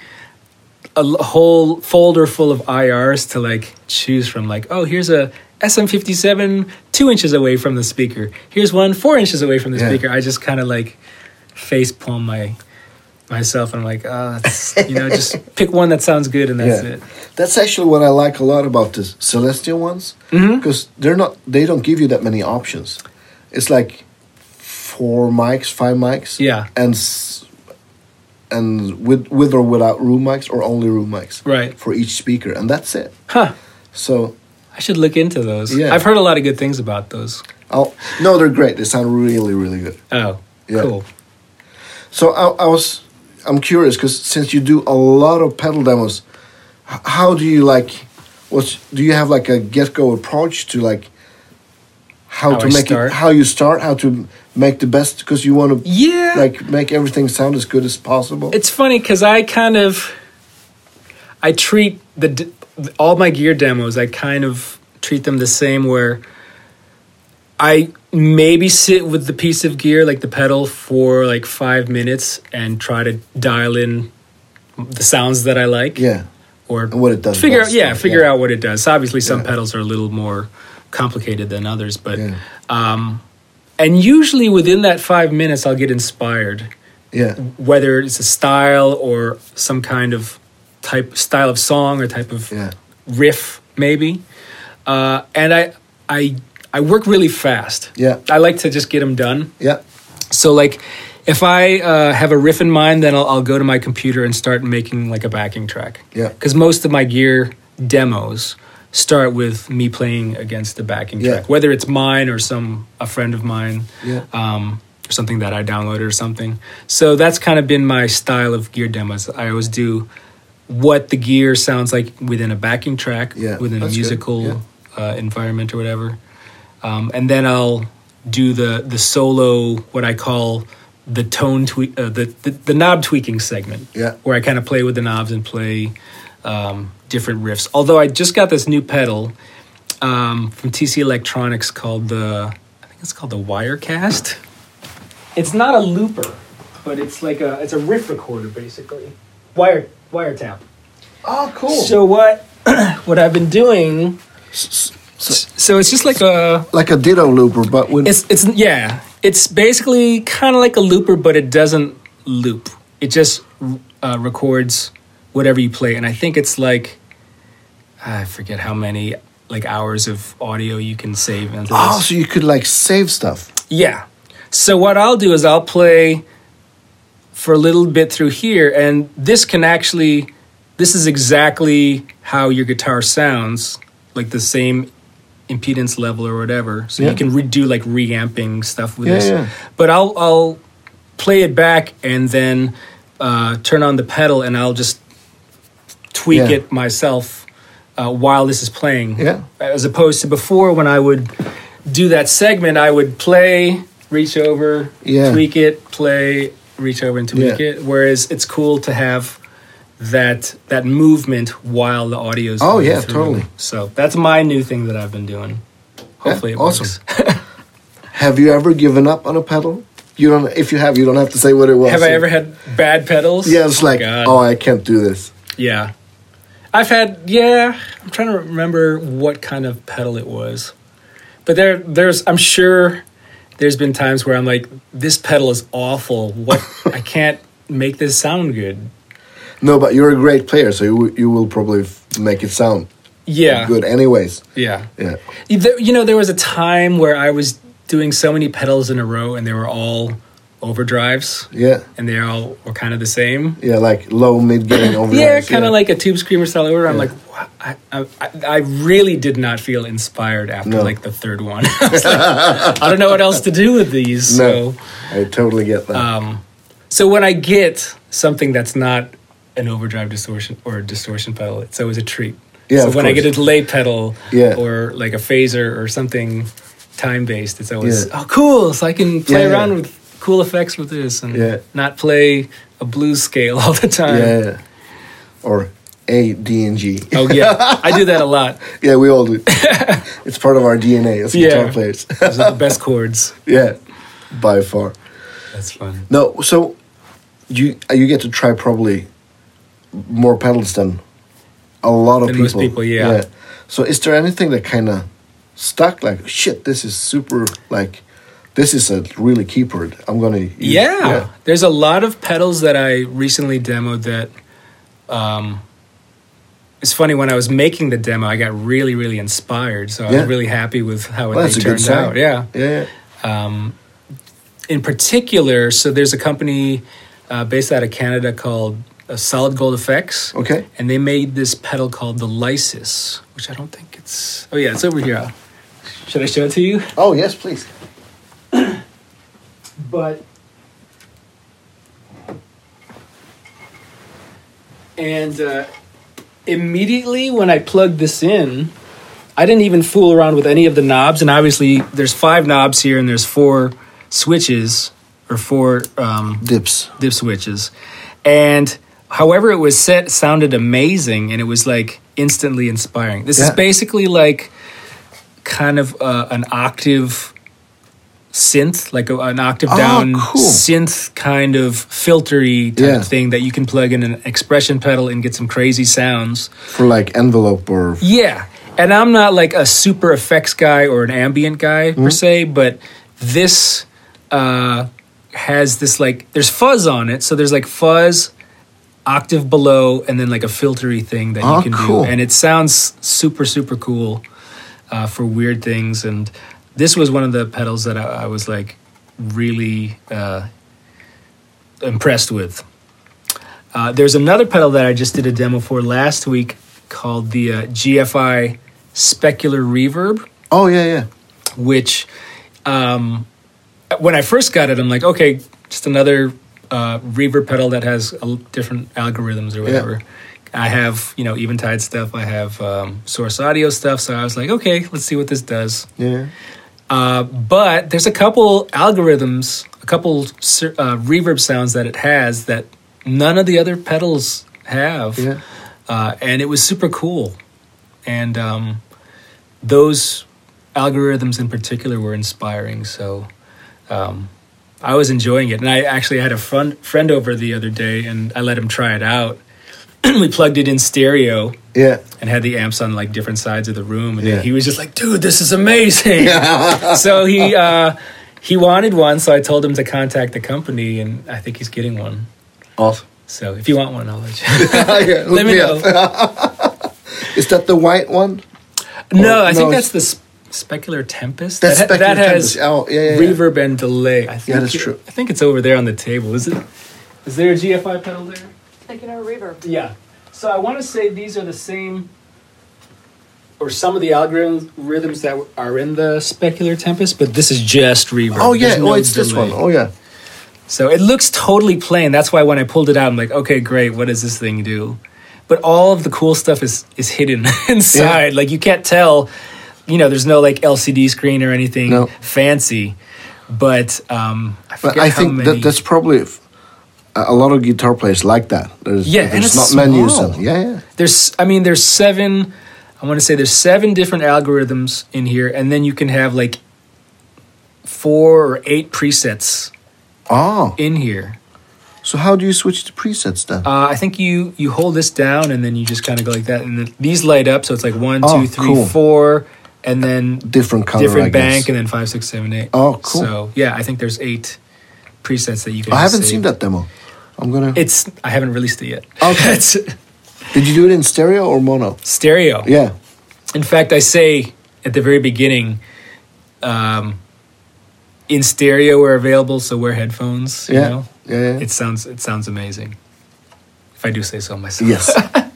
a l- whole folder full of IRs to like choose from, like, oh, here's a SM57 two inches away from the speaker. Here's one four inches away from the Yeah. speaker. I just kind of like face palm my myself and I'm like, oh, that's, you (laughs) know, just pick one that sounds good and that's yeah. it. That's actually what I like a lot about the celestial ones Mm-hmm. because they're not they don't give you that many options. It's like four mics, five mics. Yeah. And s- and with with or without room mics or only room mics. Right. For each speaker and that's it. Huh. So I should look into those. Yeah. I've heard a lot of good things about those. I'll no, they're great. They sound really really good. Oh, Yeah. cool. So I, I was, I'm curious because since you do a lot of pedal demos, h- how do you like? What's do you have like a get-go approach to like how, How to I make start? it, how you start, how to make the best because you want to Yeah. like make everything sound as good as possible. It's funny because I kind of I treat the d- all my gear demos. I kind of treat them the same where I maybe sit with the piece of gear like the pedal for like five minutes and try to dial in the sounds that I like yeah, or And what it does Figure best, yeah, right? figure Yeah. out what it does. Obviously, some Yeah. pedals are a little more complicated than others, but Yeah. um, and usually within that five minutes, I'll get inspired, Yeah. whether it's a style or some kind of type style of song or type of Yeah. riff, maybe. Uh, and I, I, I work really fast. Yeah. I like to just get them done. Yeah. So like, if I uh, have a riff in mind, then I'll, I'll go to my computer and start making like a backing track. Yeah. Because most of my gear demos start with me playing against the backing Yeah. track, whether it's mine or some a friend of mine, Yeah. um, or something that I downloaded or something. So that's kind of been my style of gear demos. I always do what the gear sounds like within a backing track, Yeah, within a that's good. musical Yeah. uh, environment or whatever um, and then I'll do the the solo what I call the tone tweak uh, the, the the knob tweaking segment Yeah. where I kind of play with the knobs and play um, different riffs although I just got this new pedal um, from TC Electronics called the I think it's called the Wirecast it's not a looper but it's like a it's a riff recorder basically wire wiretap Oh, cool. so what (clears throat) what I've been doing so it's just like a like a ditto looper, but with it's it's yeah. It's basically kind of like a looper, but it doesn't loop. It just uh, records whatever you play, and I think it's like I forget how many like hours of audio you can save. Into oh, this. so you could like save stuff. Yeah. So what I'll do is I'll play for a little bit through here, and this can actually, this is exactly how your guitar sounds, like the same impedance level or whatever. So Yeah. you can redo like reamping stuff with Yeah, this. yeah. But I'll I'll play it back and then uh, turn on the pedal, and I'll just tweak Yeah. it myself uh, while this is playing. Yeah. As opposed to before when I would do that segment, I would play, reach over, Yeah. tweak it, play, reach over and tweak Yeah. it. Whereas it's cool to have that that movement while the audio's Oh, going yeah, through. totally. So that's my new thing that I've been doing. Hopefully it awesome. works. (laughs) Have you ever given up on a pedal? You don't. If you have, you don't have to say what it was. Have I ever had bad pedals? Yeah, it's like, God. oh, I can't do this. Yeah. I've had yeah, I'm trying to remember what kind of pedal it was. But there there's I'm sure there's been times where I'm like this pedal is awful. (laughs) What I can't make this sound good. No, but you're a great player, so you w- you will probably f- make it sound Yeah. good, anyways. Yeah. Yeah, You- there- You know there was a time where I was doing so many pedals in a row and they were all overdrives yeah, and they all were kind of the same. yeah. Like low mid gain over. Yeah, kind of like a tube screamer style order. I'm like, "Wha- I, I, I really did not feel inspired after No. like the third one. (laughs) I, was like, I don't know what else to do with these. No, So, Uh, I totally get that. so when I get something that's not an overdrive distortion or a distortion pedal, it's always a treat. Yeah, so of when I course. get a delay pedal Yeah. or like a phaser or something time based, it's always Yeah. oh cool. So I can play Yeah, yeah. around with cool effects with this and Yeah. not play a blues scale (laughs) all the time. yeah, or A D and G. Oh yeah, I do that a lot. (laughs) yeah, we (laughs) all do. it's part of our DNA as guitar Yeah. players. (laughs) Those are the best chords. yeah, by far. That's fun. No, so you uh, you get to try probably more pedals than a lot of Than people. most people, yeah. So is there anything that kind of stuck? Like shit, this is super. Like this is a really keyboard. I'm gonna. Use. Yeah. there's a lot of pedals that I recently demoed that. Um, it's funny when I was making the demo, I got really, really inspired. So I Yeah. was really happy with how Well, it that's a they good turned sign. out. Yeah. Yeah. Um, in particular, so there's a company uh, based out of Canada called uh, Solid Gold Effects. Okay. and they made this pedal called the Lysis, which I don't think it's. Oh yeah, it's over here. Should I show it to you? Oh yes, please. But and uh, immediately when I plugged this in, I didn't even fool around with any of the knobs. And obviously, there's five knobs here, and there's four switches or four um, Dips. dip switches. And however it was set sounded amazing and it was like instantly inspiring. This is Yeah. basically like kind of uh, an octave synth, like a, an octave Oh, down cool. synth kind of filtery type Yeah. thing that you can plug in an expression pedal and get some crazy sounds. For like envelope or Mm-hmm. Yeah. And I'm not like a super effects guy or an ambient guy per se, but this uh, has this like there's fuzz on it, so there's like fuzz octave below, and then like a filtery thing that Oh, you can cool. do, and it sounds super super cool uh, for weird things. And this was one of the pedals that I, I was like really uh, impressed with. Uh, there's another pedal that I just did a demo for last week called the uh, GFI Specular Reverb Oh yeah, yeah. which um, when I first got it, I'm like, okay, just another uh, reverb pedal that has a l- different algorithms or whatever. I have, you know, Eventide stuff. I have um, Source Audio stuff. So I was like, okay, let's see what this does. Yeah. Uh, but there's a couple algorithms, a couple ser- uh, reverb sounds that it has that none of the other pedals have. Yeah. Uh, and it was super cool. And um, those algorithms in particular were inspiring. So um, I was enjoying it. And I actually had a friend, friend over the other day and I let him try it out. (clears throat) we plugged it in stereo Yeah. and had the amps on like different sides of the room and Yeah. then he was just like dude this (laughs) is amazing so he uh he wanted one so i told him to contact the company and i think he's getting one (laughs) Awesome. so if you want one i'll let (laughs) you (laughs) yeah, Oh, let me know Is that the white one? no i No, think it's- that's the sp- specular tempest That's that, ha- Specular that has Tempest. Oh, yeah, yeah, yeah. reverb and delay i think that's it- true. i think it's over there on the table is it is there a gfi pedal there Specular reverb. Yeah. So I want to say these are the same, or some of the algorithms rhythms that are in the Specular Tempest, but this is just reverb. Oh yeah. There's no oh, it's this one. delay. Oh yeah. So it looks totally plain. That's why when I pulled it out, I'm like, okay, great. What does this thing do? But all of the cool stuff is is hidden (laughs) inside. Like you can't tell. You know, there's no like LCD screen or anything No. fancy. But um, I forget But I how think many- that that's probably f- a a lot of guitar players like that. There's, Yeah, and there's it's not many who small. sell. Yeah, yeah. there's i mean there's seven i want to say there's seven different algorithms in here and then you can have like four or eight presets Oh, in here so how do you switch to presets then? uh, i think you you hold this down and then you just kind of go like that and then these light up so it's like one, Oh, two, three, four, cool. and then different color, different I bank guess. and then five six seven eight. Oh, cool. so yeah i think there's eight presets that you can I haven't save. seen that demo. I'm gonna. it's i haven't released it yet Okay. (laughs) it's Did you do it in stereo or mono? stereo Yeah. In fact, I say at the very beginning, um, in stereo we're available, so wear headphones. You Yeah. know? Yeah, yeah. It sounds it sounds amazing. If I do say so myself. Yes.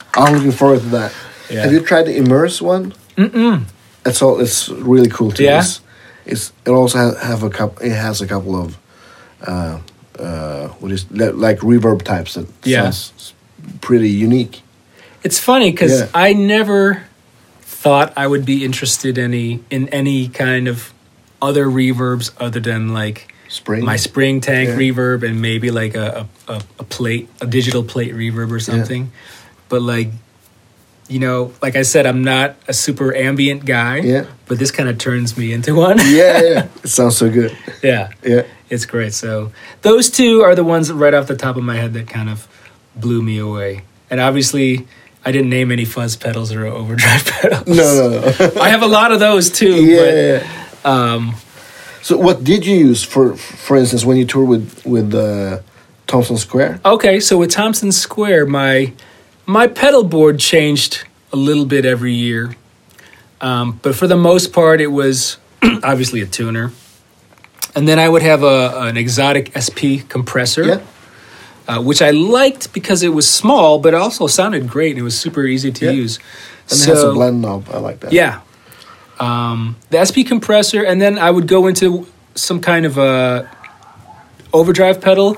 (laughs) I'm looking forward to that. Yeah. Have you tried the immerse one? Mm-mm. It's all. It's really cool too. Yeah? It's, it's it also ha- have a couple. It has a couple of, uh, uh, what is li- like reverb types that Yeah. sounds s- pretty unique. It's funny because Yeah. I never thought I would be interested any in any kind of other reverbs other than like Spring. my spring tank Yeah. reverb and maybe like a, a, a, a plate a digital plate reverb or something but like you know like i said i'm not a super ambient guy Yeah. but this kind of turns me into (laughs) one yeah, yeah. It sounds so good. (laughs) yeah Yeah. it's great so those two are the ones right off the top of my head that kind of blew me away and obviously i didn't name any fuzz pedals or overdrive (laughs) pedals No, no, (laughs) no. i have a lot of those too (laughs) yeah. but um So, what did you use for, for instance, when you toured with with uh, Thompson Square? Okay, so with Thompson Square, my my pedal board changed a little bit every year, um, but for the most part, it was (clears throat) obviously a tuner, and then I would have a, an exotic SP compressor, Yeah. uh, which I liked because it was small, but it also sounded great and it was super easy to Yeah. use. And it has a blend knob. I like that. Yeah. Um, the SP compressor, and then I would go into some kind of a overdrive pedal.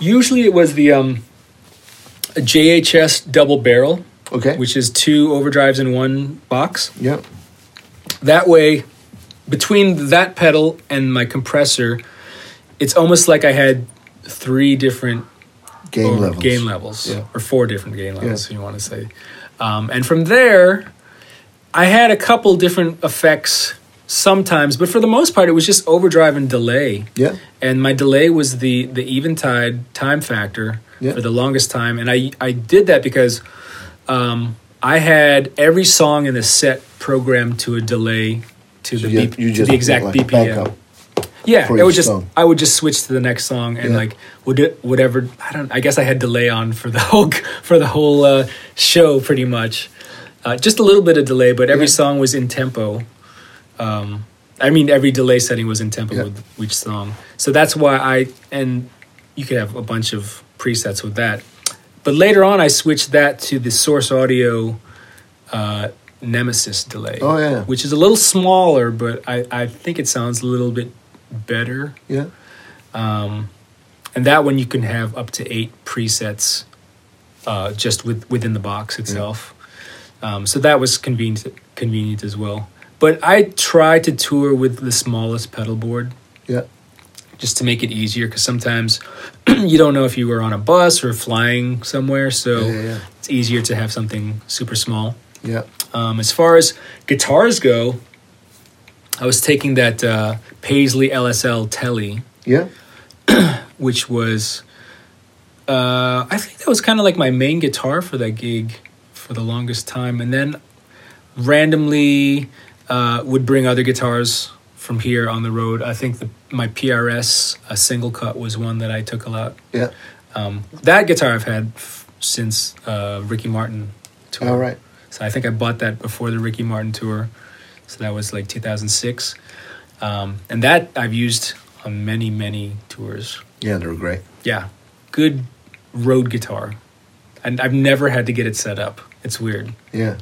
Usually it was the um, a JHS double barrel, Okay. which is two overdrives in one box. yeah. That way, between that pedal and my compressor, it's almost like I had three different Game or levels. Gain levels, Yeah. or four different gain levels, if you want to say. Um, and from there, I had a couple different effects sometimes, but for the most part, it was just overdrive and delay. Yeah. And my delay was the the eventide time factor Yeah. for the longest time, and I I did that because um, I had every song in the set programmed to a delay to the Yeah, B- to the exact like BPM. backup. Yeah, for it would each just song. I would just switch to the next song and Yeah. like would do whatever I don't I guess I had delay on for the whole (laughs) for the whole uh, show pretty much. Uh, just a little bit of delay, but every Yeah. song was in tempo. Um, I mean, every delay setting was in tempo Yeah. with each song, so that's why I and you could have a bunch of presets with that. But later on, I switched that to the Source Audio uh, Nemesis delay, Oh, yeah. which is a little smaller, but I, I think it sounds a little bit better. Yeah. And that one you can have up to eight presets uh, just with, within the box Mm. itself. Um, so that was convenient, convenient as well. But I try to tour with the smallest pedal board Yeah. just to make it easier because sometimes (clears throat) you don't know if you were on a bus or flying somewhere. So Yeah, yeah, yeah. it's easier to have something super small. Yeah. Um, as far as guitars go, I was taking that uh, Paisley LSL Telly, Yeah. which was, uh, I think that was kind of like my main guitar for that gig for the longest time. And then randomly uh, would bring other guitars from here on the road. I think the, my PRS, a single cut, was one that I took a lot. Yeah. Um, that guitar I've had f- since uh, Ricky Martin tour. All right. So I think I bought that before the Ricky Martin tour. So that was like 2006. Um, and that I've used on many, many tours. Yeah, they're great. Yeah. Good road guitar. And I've never had to get it set up. It's weird. Yeah.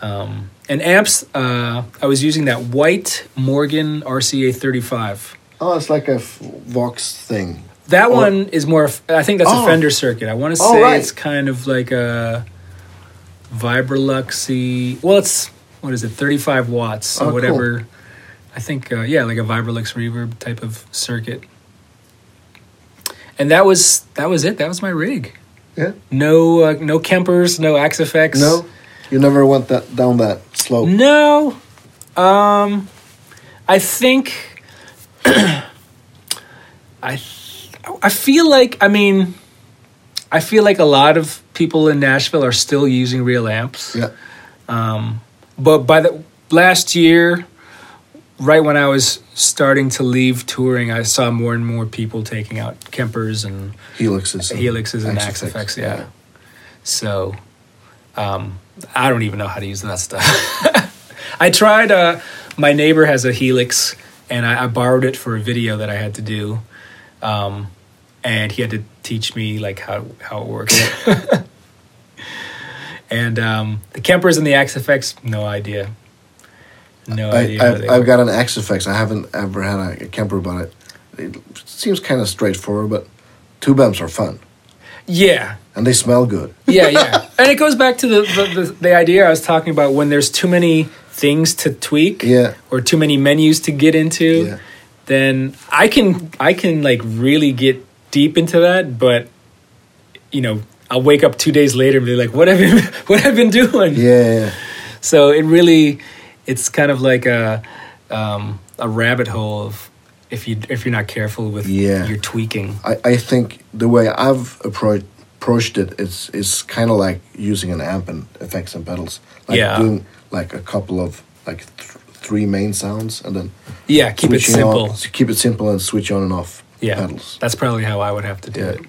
Um, and amps, uh, I was using that white Morgan RCA 35. Oh, it's like a f- Vox thing. That Oh. one is more, of- I think that's Oh. a Fender circuit. I want to Oh, say right. it's kind of like a Vibroluxy. Well, it's, what is it, 35 watts, Oh, so cool. whatever. I think, uh, yeah, like a Vibrolux reverb type of circuit. And that was that was it. That was my rig. Yeah. No, uh, no Kempers, no Axe effects. No, you never went that down that slope. No. Um, I think. (clears throat) I, I feel like I mean, I feel like a lot of people in Nashville are still using real amps. Yeah. But by the last year, right when I was starting to leave touring, I saw more and more people taking out Kempers and Helixes. and helixes and Axe axe effects. Yeah. So, um, I don't even know how to use that stuff. (laughs) I tried. Uh, my neighbor has a helix, and I, I borrowed it for a video that I had to do, um, and he had to teach me like how how it works. (laughs) and um, the Kempers and the axe effects, no idea. No I, idea. how they I, I've work. got an Axe effects. I haven't ever had a, a camper, but it, it seems kind of straightforward. But tube amps are fun, Yeah, and they smell good. yeah, yeah. and it goes back to the, the, the, the idea I was talking about when there's too many things to tweak Yeah. or too many menus to get into, Yeah. then I can I can like really get deep into that, but you know, I'll wake up two days later and be like, what have I been, (laughs) what have I been doing? Yeah, yeah, So it really it's kind of like a um, a rabbit hole of if you if you're not careful with Yeah. your tweaking. I, I think the way I've approached approached it is is kind of like using an amp and effects and pedals. Like Yeah. doing like a couple of like th- three main sounds and then Yeah, keep it switching simple. On, keep it simple and switch on and off yeah. pedals. That's probably how I would have to do Yeah. it.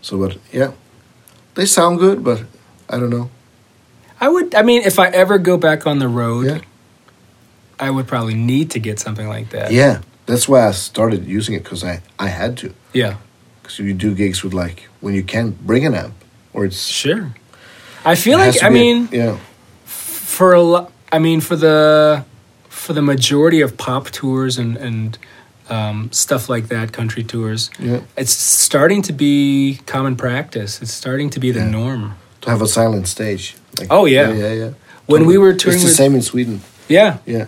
So, but yeah, they sound good, but I don't know. I would. I mean, if I ever go back on the road, Yeah. I would probably need to get something like that. Yeah, that's why I started using it because I I had to. Yeah. Because you do gigs with like when you can't bring an amp or it's Sure. I feel it has like. to I be a- mean, yeah, for a lot. I mean, for the for the majority of pop tours and and um, stuff like that, country tours, Yeah. it's starting to be common practice. It's starting to be the Yeah. norm. to have a silent stage. Like, Oh, yeah. yeah, yeah. yeah. When we were touring it's the with- same in Sweden. Yeah. Yeah,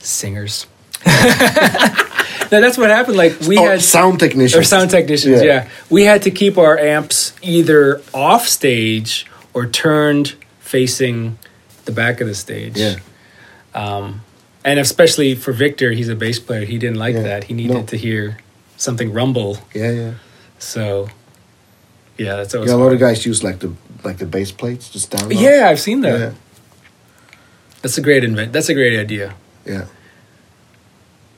Singers. (laughs) no, that's what happened. Like we or had Oh, sound technicians or sound technicians. Yeah. we had to keep our amps either off stage or turned facing the back of the stage. Yeah. Um, and especially for Victor, he's a bass player. He didn't like Yeah. that. He needed No. to hear something rumble. yeah, yeah. So, yeah, that's always Yeah, a lot of hard. guys use like the like the bass plates just down. low. Yeah, I've seen that. yeah, That's a great invent. That's a great idea. yeah.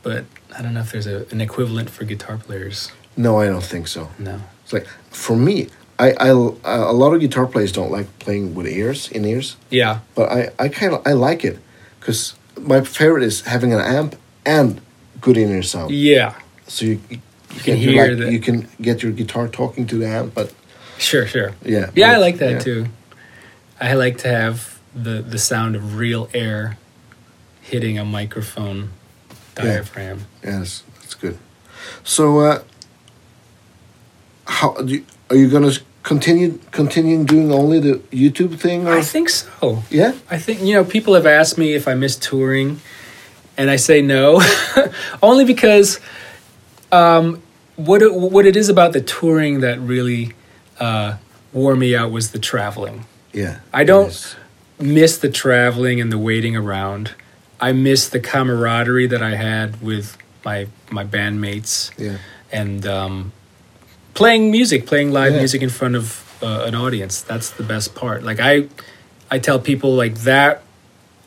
but I don't know if there's a, an equivalent for guitar players. No, I don't think so. No. It's like for me, I, I a lot of guitar players don't like playing with ears in ears, Yeah. but I I kind of I like it because my favorite is having an amp and good in ear sound. Yeah. So you, you can get your, hear like, the- you can get your guitar talking to the amp, but Sure, sure. Yeah, Yeah, I but- like that yeah. too. I like to have the the sound of real air hitting a microphone Yeah. diaphragm. yes, that's good. So uh, how do you, are you gonna s- continue continuing doing only the YouTube thing or I think so. yeah? I think you know people have asked me if I miss touring, and I say no, (laughs) only because um, what it, what it is about the touring that really uh, wore me out was the traveling. Yeah. I don't Yes. miss the traveling and the waiting around. I miss the camaraderie that I had with my my bandmates Yeah. and um, playing music, playing live Yeah. music in front of uh, an audience. That's the best part. Like I, I tell people like that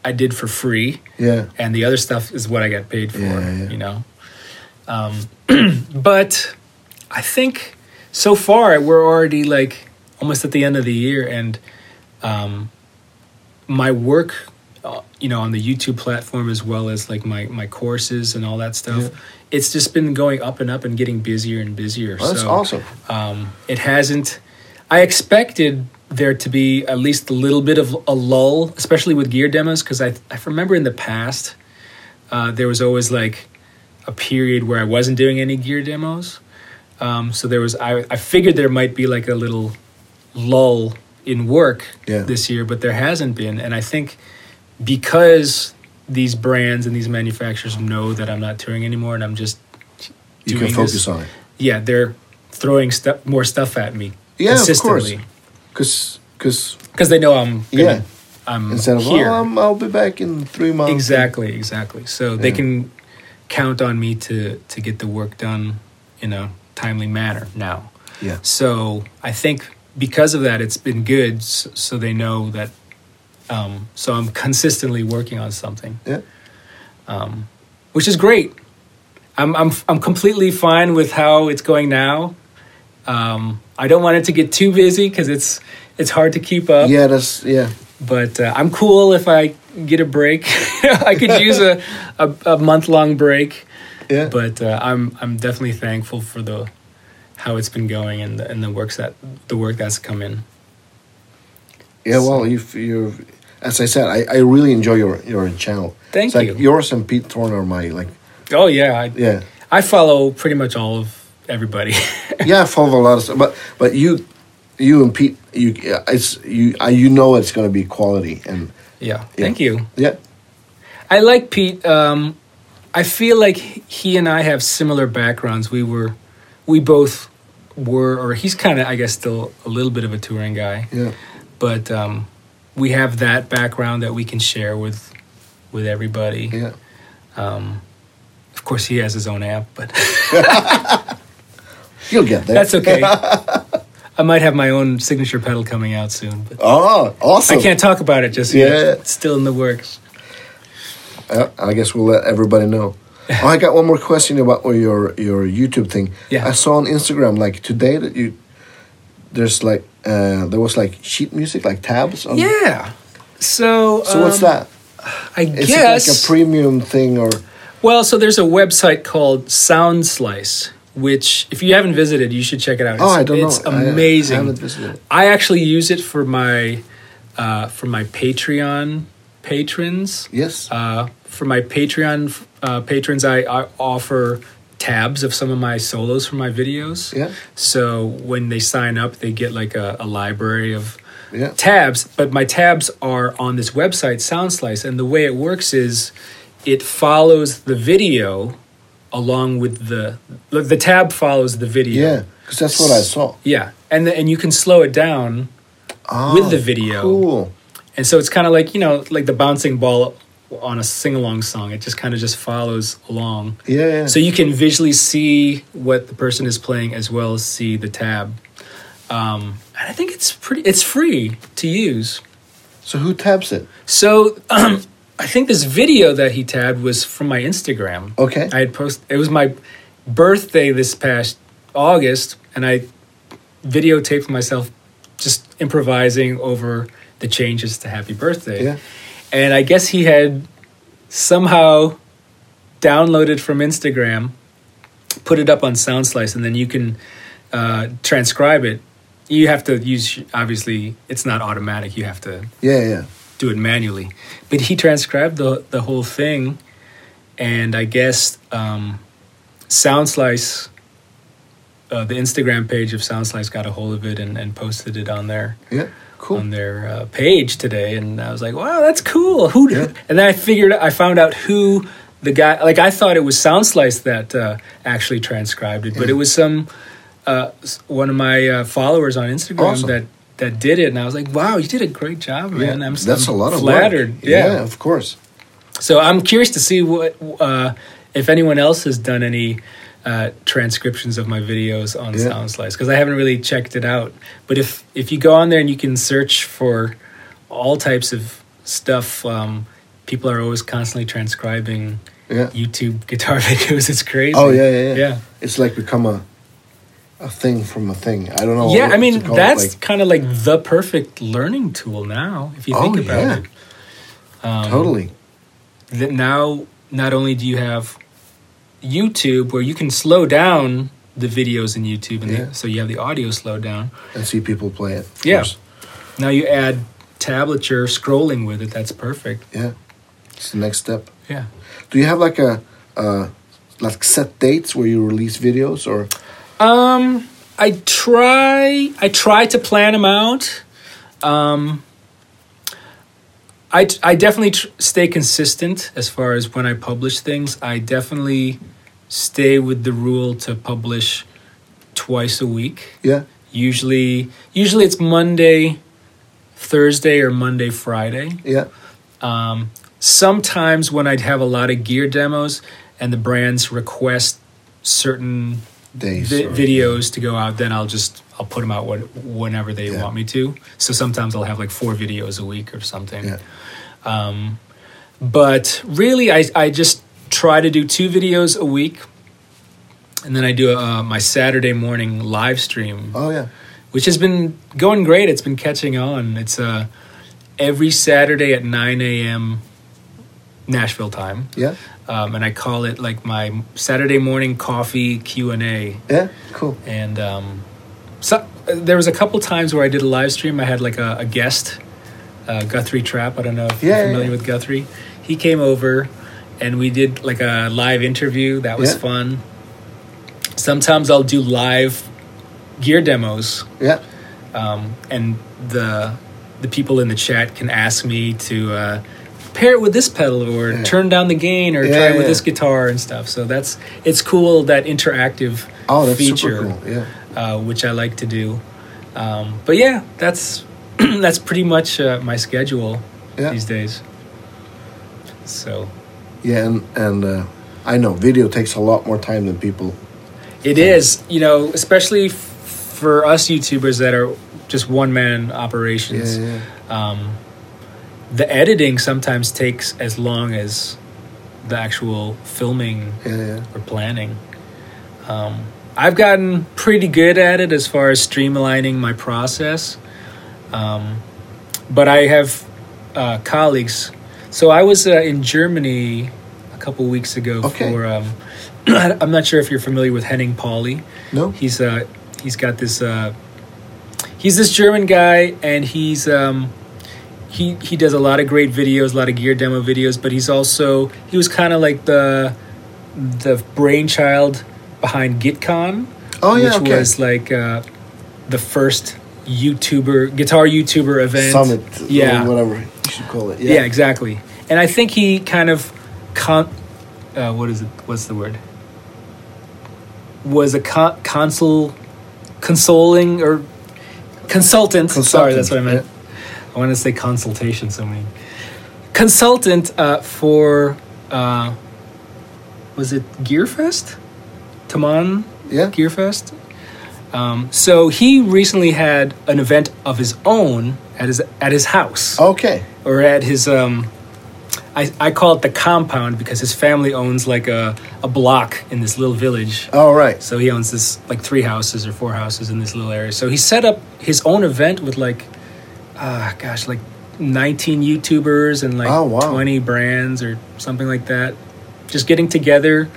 I did for free, Yeah. and the other stuff is what I got paid for. Yeah, yeah. You know, um, (clears throat) but I think so far we're already like almost at the end of the year, and um, my work, uh, you know, on the YouTube platform as well as like my my courses and all that stuff. It's just been going up and up and getting busier and busier. Well, that's so awesome. um, it hasn't. I expected there to be at least a little bit of a lull, especially with gear demos, because I, I remember in the past uh, there was always like a period where I wasn't doing any gear demos. Um, so there was I, I figured there might be like a little lull in work Yeah. this year, but there hasn't been, and I think because these brands and these manufacturers know that I'm not touring anymore and I'm just You doing can this- focus on it. yeah, they're throwing stuff more stuff at me Yeah, of course. consistently Because because because they know I'm gonna, Yeah. I'm instead of here oh, I'm, I'll be back in three months. exactly exactly so they Yeah. can count on me to to get the work done in a timely manner now Yeah. so I think because of that it's been good s- so they know that um, so I'm consistently working on something Yeah. which is great. I'm I'm I'm completely fine with how it's going now. Um, I don't want it to get too busy because it's it's hard to keep up. Yeah. That's yeah. But uh, I'm cool if I get a break. (laughs) I could use a a, a month long break. Yeah. But uh, I'm I'm definitely thankful for the how it's been going and the, and the works that the work that's come in. Yeah, well, you you as I said, I, I really enjoy your your channel. Thank It's like you. yours and Pete Thorne are my like Oh yeah, I, yeah I follow pretty much all of everybody. (laughs) yeah I follow a lot of stuff, but but you you and Pete you yeah, it's you I, you know it's gonna be quality and yeah, Yeah. thank you. yeah I like Pete. Um, I feel like he and I have similar backgrounds. We were, we both were, or he's kind of, I guess, still a little bit of a touring guy. yeah But um, we have that background that we can share with, with everybody. Um, yeah Of course, he has his own app, but (laughs) you'll get there. that's (laughs) okay. I might have my own signature pedal coming out soon, but Oh, awesome! I can't talk about it just Yeah. yet. It's still in the works. Uh, I guess we'll let everybody (laughs) know. oh, I got one more question about oh, your your YouTube thing. Yeah. I saw on Instagram like today that you there's like uh there was like sheet music like tabs. On, Yeah. So. Um, So what's um, that? I Is guess it like a premium thing or Well, so there's a website called Sound Slice, which if you haven't visited, you should check it out. Oh, I don't know. it's I- I amazing. haven't visited it. I actually use it for my uh, for my Patreon patrons. yes? Uh, for my Patreon uh, patrons, I, I offer tabs of some of my solos from my videos. Yeah. So when they sign up, they get like a, a library of Yeah. tabs. But my tabs are on this website, SoundSlice, and the way it works is it follows the video along with the the tab follows the video. yeah, because that's what I saw. Yeah, and the, and you can slow it down Ah, with the video. Cool. And so it's kind of like, you know, like the bouncing ball on a sing along song. It just kind of just follows along. Yeah. yeah. So you can visually see what the person is playing as well as see the tab. Um, and I think it's pretty, it's free to use. So who tabs it? So um, I think this video that he tabbed was from my Instagram. Okay. I had post. It was my birthday this past August, and I videotaped myself just improvising over the changes to Happy Birthday. Yeah. And I guess he had somehow downloaded from Instagram, put it up on SoundSlice, and then you can uh, transcribe it. You have to use obviously it's not automatic. You have to Yeah, yeah. do it manually. But he transcribed the the whole thing, and I guess um, SoundSlice, uh, the Instagram page of SoundSlice, got a hold of it and, and posted it on their Yeah. Cool. on their uh, page today. And I was like, wow, that's cool. Who? Yeah. And then I figured I found out who the guy. Like I thought it was SoundSlice that uh, actually transcribed it, but Yeah. it was some uh, s- one of my uh, followers on Instagram Awesome. that. That did it, and I was like, "Wow, you did a great job, man!" yeah. I'm, That's I'm a lot of work. flattered. yeah, of course. so I'm curious to see what uh, if anyone else has done any uh, transcriptions of my videos on Yeah. SoundSlice because I haven't really checked it out. But if if you go on there and you can search for all types of stuff, um, people are always constantly transcribing Yeah. YouTube guitar (laughs) videos. It's crazy. Oh yeah, yeah, yeah. yeah. It's like become a a thing from a thing. I don't know. yeah, what I to mean call Oh, it, that's like- kind of like the perfect learning tool now. If you Oh, think about yeah. it, um, totally. that now not only do you have YouTube where you can slow down the videos in YouTube, and Yeah. the, so you have the audio slowed down. And see people play it. of Yeah. course. Now you add tablature scrolling with it. That's perfect. Yeah. It's the next step. Yeah. Do you have like a uh, like set dates where you release videos or Um, I try. I try to plan them out. Um, I I definitely tr- stay consistent as far as when I publish things. I definitely stay with the rule to publish twice a week. yeah? usually usually it's monday thursday or monday friday Yeah. um, sometimes when i'd have a lot of gear demos and the brands request certain Days. vi- or- videos to go out then i'll just i'll put them out what, whenever they Yeah. want me to so sometimes i'll have like four videos a week or something Yeah. um, but really, I, I just try to do two videos a week. And then I do uh, my Saturday morning live stream, Oh yeah. which has been going great. It's been catching on. It's uh, every Saturday at 9 a.m. Nashville time. Yeah. Um, and I call it like my Saturday morning coffee Q&A Yeah. Cool. and um, so, there was a couple times where I did a live stream. I had like a, a guest, uh, Guthrie Trap. I don't know if Yeah, yeah, you're familiar yeah. with Guthrie. He came over, and we did like a live interview. That was Yeah. fun. Sometimes I'll do live gear demos, Yeah. um, and the the people in the chat can ask me to. Uh, pair it with this pedal or Yeah. turn down the gain or Yeah, try it with yeah. this guitar and stuff so that's it's cool that interactive Oh, that's feature super cool. Yeah. uh, which I like to do. Um, but yeah, that's (clears throat) that's pretty much uh, my schedule Yeah. these days. So Yeah, and and uh, I know video takes a lot more time than people. it is, you know, especially f- for us YouTubers that are just one man operations. yeah. Um, the editing sometimes takes as long as the actual filming Yeah, yeah. or planning. Um, I've gotten pretty good at it as far as streamlining my process, um, but I have uh, colleagues. So I was uh, in Germany a couple weeks ago Okay. for. Um, (clears throat) I'm not sure if you're familiar with Henning Pauli. No. He's uh, he's got this. Uh, he's this German guy, and he's um, he he does a lot of great videos, a lot of gear demo videos. But he's also he was kind of like the the brainchild behind GitCon, Oh yeah. which okay. was like uh, the first YouTuber guitar YouTuber event Summit. Yeah, Or whatever you should call it. yeah, Yeah. exactly. And I think he kind of con- uh, what is it? What's the word? Was a con- console consoling or consultant. Sorry, that's what I meant. I want to say consultation so many. Consultant uh, for uh, was it Gearfest? Taman Yeah. Gearfest. Um, so he recently had an event of his own at his at his house Okay. or at his um I, I call it the compound because his family owns like a, a block in this little village. All right. So he owns this like three houses or four houses in this little area. So he set up his own event with like, ah, gosh, like 19 YouTubers and like Oh, wow. 20 brands or something like that. Just getting together,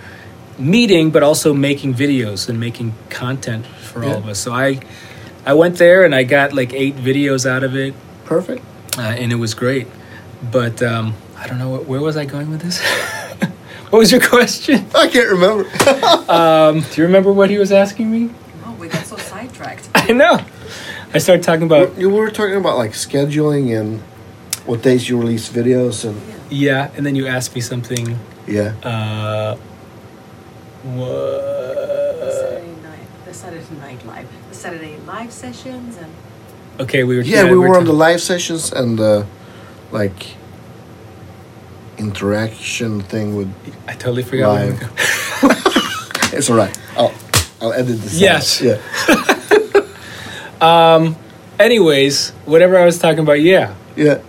meeting, but also making videos and making content for all Yeah. of us. So I, I went there and I got like eight videos out of it, Perfect. uh, and it was great. But um, I don't know what, where was I going with this. (laughs) what was your question? I can't remember. (laughs) Um, do you remember what he was asking me? (laughs) No, Oh, we got so sidetracked. I know. I started talking about you were talking about like scheduling and what days you release videos and yeah, and then you asked me something. yeah. Uh, what? Saturday night, the Saturday night live, the Saturday live sessions, and Okay, we were Yeah, we were on the talking- live sessions and the like interaction thing with. (laughs) I totally forgot. where we live. were going. It's all right. I'll I'll edit this. out. Yes. Yeah. Um, Anyways, whatever I was talking about, yeah. Yeah.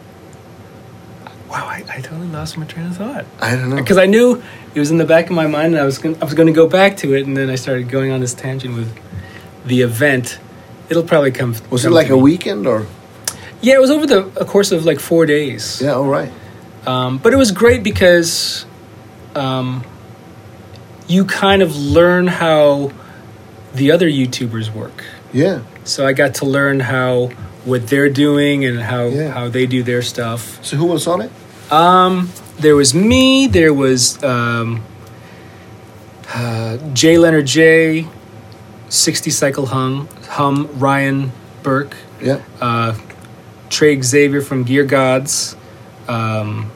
Wow, I, I totally lost my train of thought. I don't know. because I knew it was in the back of my mind, and I was gonna, I was going to go back to it, and then I started going on this tangent with the event. It'll probably come. was it come like to a me. weekend or? Yeah, it was over the a course of like four days. Yeah. All right. Um, but it was great because um, you kind of learn how the other YouTubers work. Yeah. So I got to learn how what they're doing and how Yeah. how they do their stuff. So who was on it? Um, there was me. There was um, uh, J. Leonard J. Sixty Cycle Hum, Hum Ryan Burke, Yeah. uh, Trey Xavier from Gear Gods, um,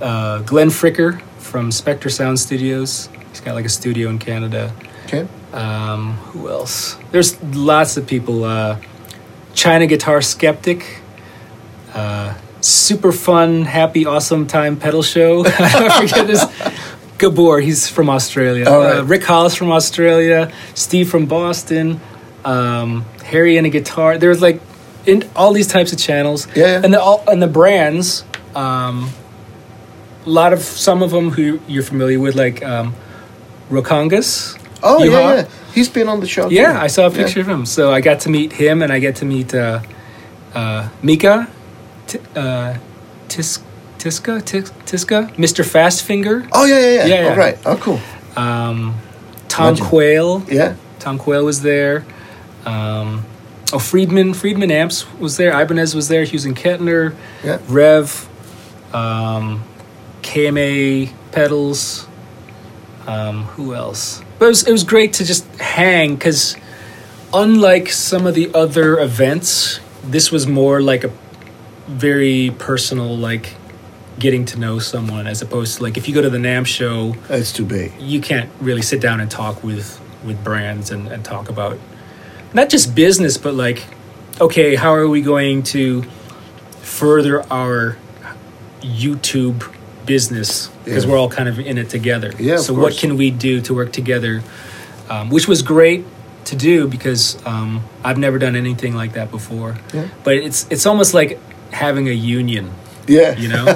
uh, Glenn Fricker from Spectre Sound Studios. He's got like a studio in Canada. Okay. Um, who else? There's lots of people. Uh, China Guitar Skeptic. Uh, super fun, happy, awesome time pedal show. (laughs) I forget this. Gabor, he's from Australia. All right. Uh, Rick Hollis from Australia. Steve from Boston. Um, Harry and a guitar. There's like in all these types of channels. Yeah, yeah. And the all and the brands. Um, a lot of some of them who you're familiar with, like um, Rokongas. Oh You yeah, are? yeah. He's been on the show. Yeah, too. I saw a Yeah. picture of him. So I got to meet him, and I get to meet uh, uh, Mika, t- uh, Tis- Tiska, Tis- Tiska, Mr. Fastfinger, Oh yeah, yeah, yeah. Yeah, All yeah. right. Oh cool. um, Tom Legend. Quayle. Yeah. Tom Quayle was there. Um, oh, Friedman, Friedman Amps was there. Ibanez was there. Hughes and Kettner, Yeah. Rev, um, KMA pedals. Um, who else? But it was, it was great to just hang because, unlike some of the other events, this was more like a very personal, like getting to know someone, as opposed to like if you go to the NAM show, That's too big. you can't really sit down and talk with with brands and, and talk about not just business but like okay how are we going to further our youtube business because Yeah. we're all kind of in it together Yeah, of so what course. can we do to work together um, which was great to do because um, i've never done anything like that before Yeah. but it's it's almost like having a union Yeah. you know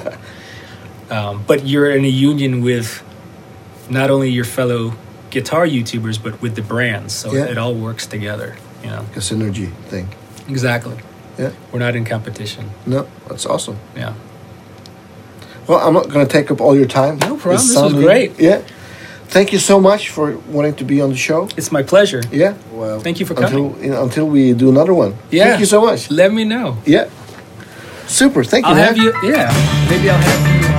um, but you're in a union with not only your fellow guitar youtubers but with the brands so Yeah. it all works together you know a synergy thing. exactly Yeah. we're not in competition No, that's awesome. yeah Well, I'm not going to take up all your time. No problem. It This was sounded- great. Yeah. Thank you so much for wanting to be on the show. it's my pleasure Yeah. Well, Thank you for until, coming. Until we do another one. Yeah. Thank you so much. let me know Yeah. Super. Thank you. i'll have man. you yeah maybe i'll have you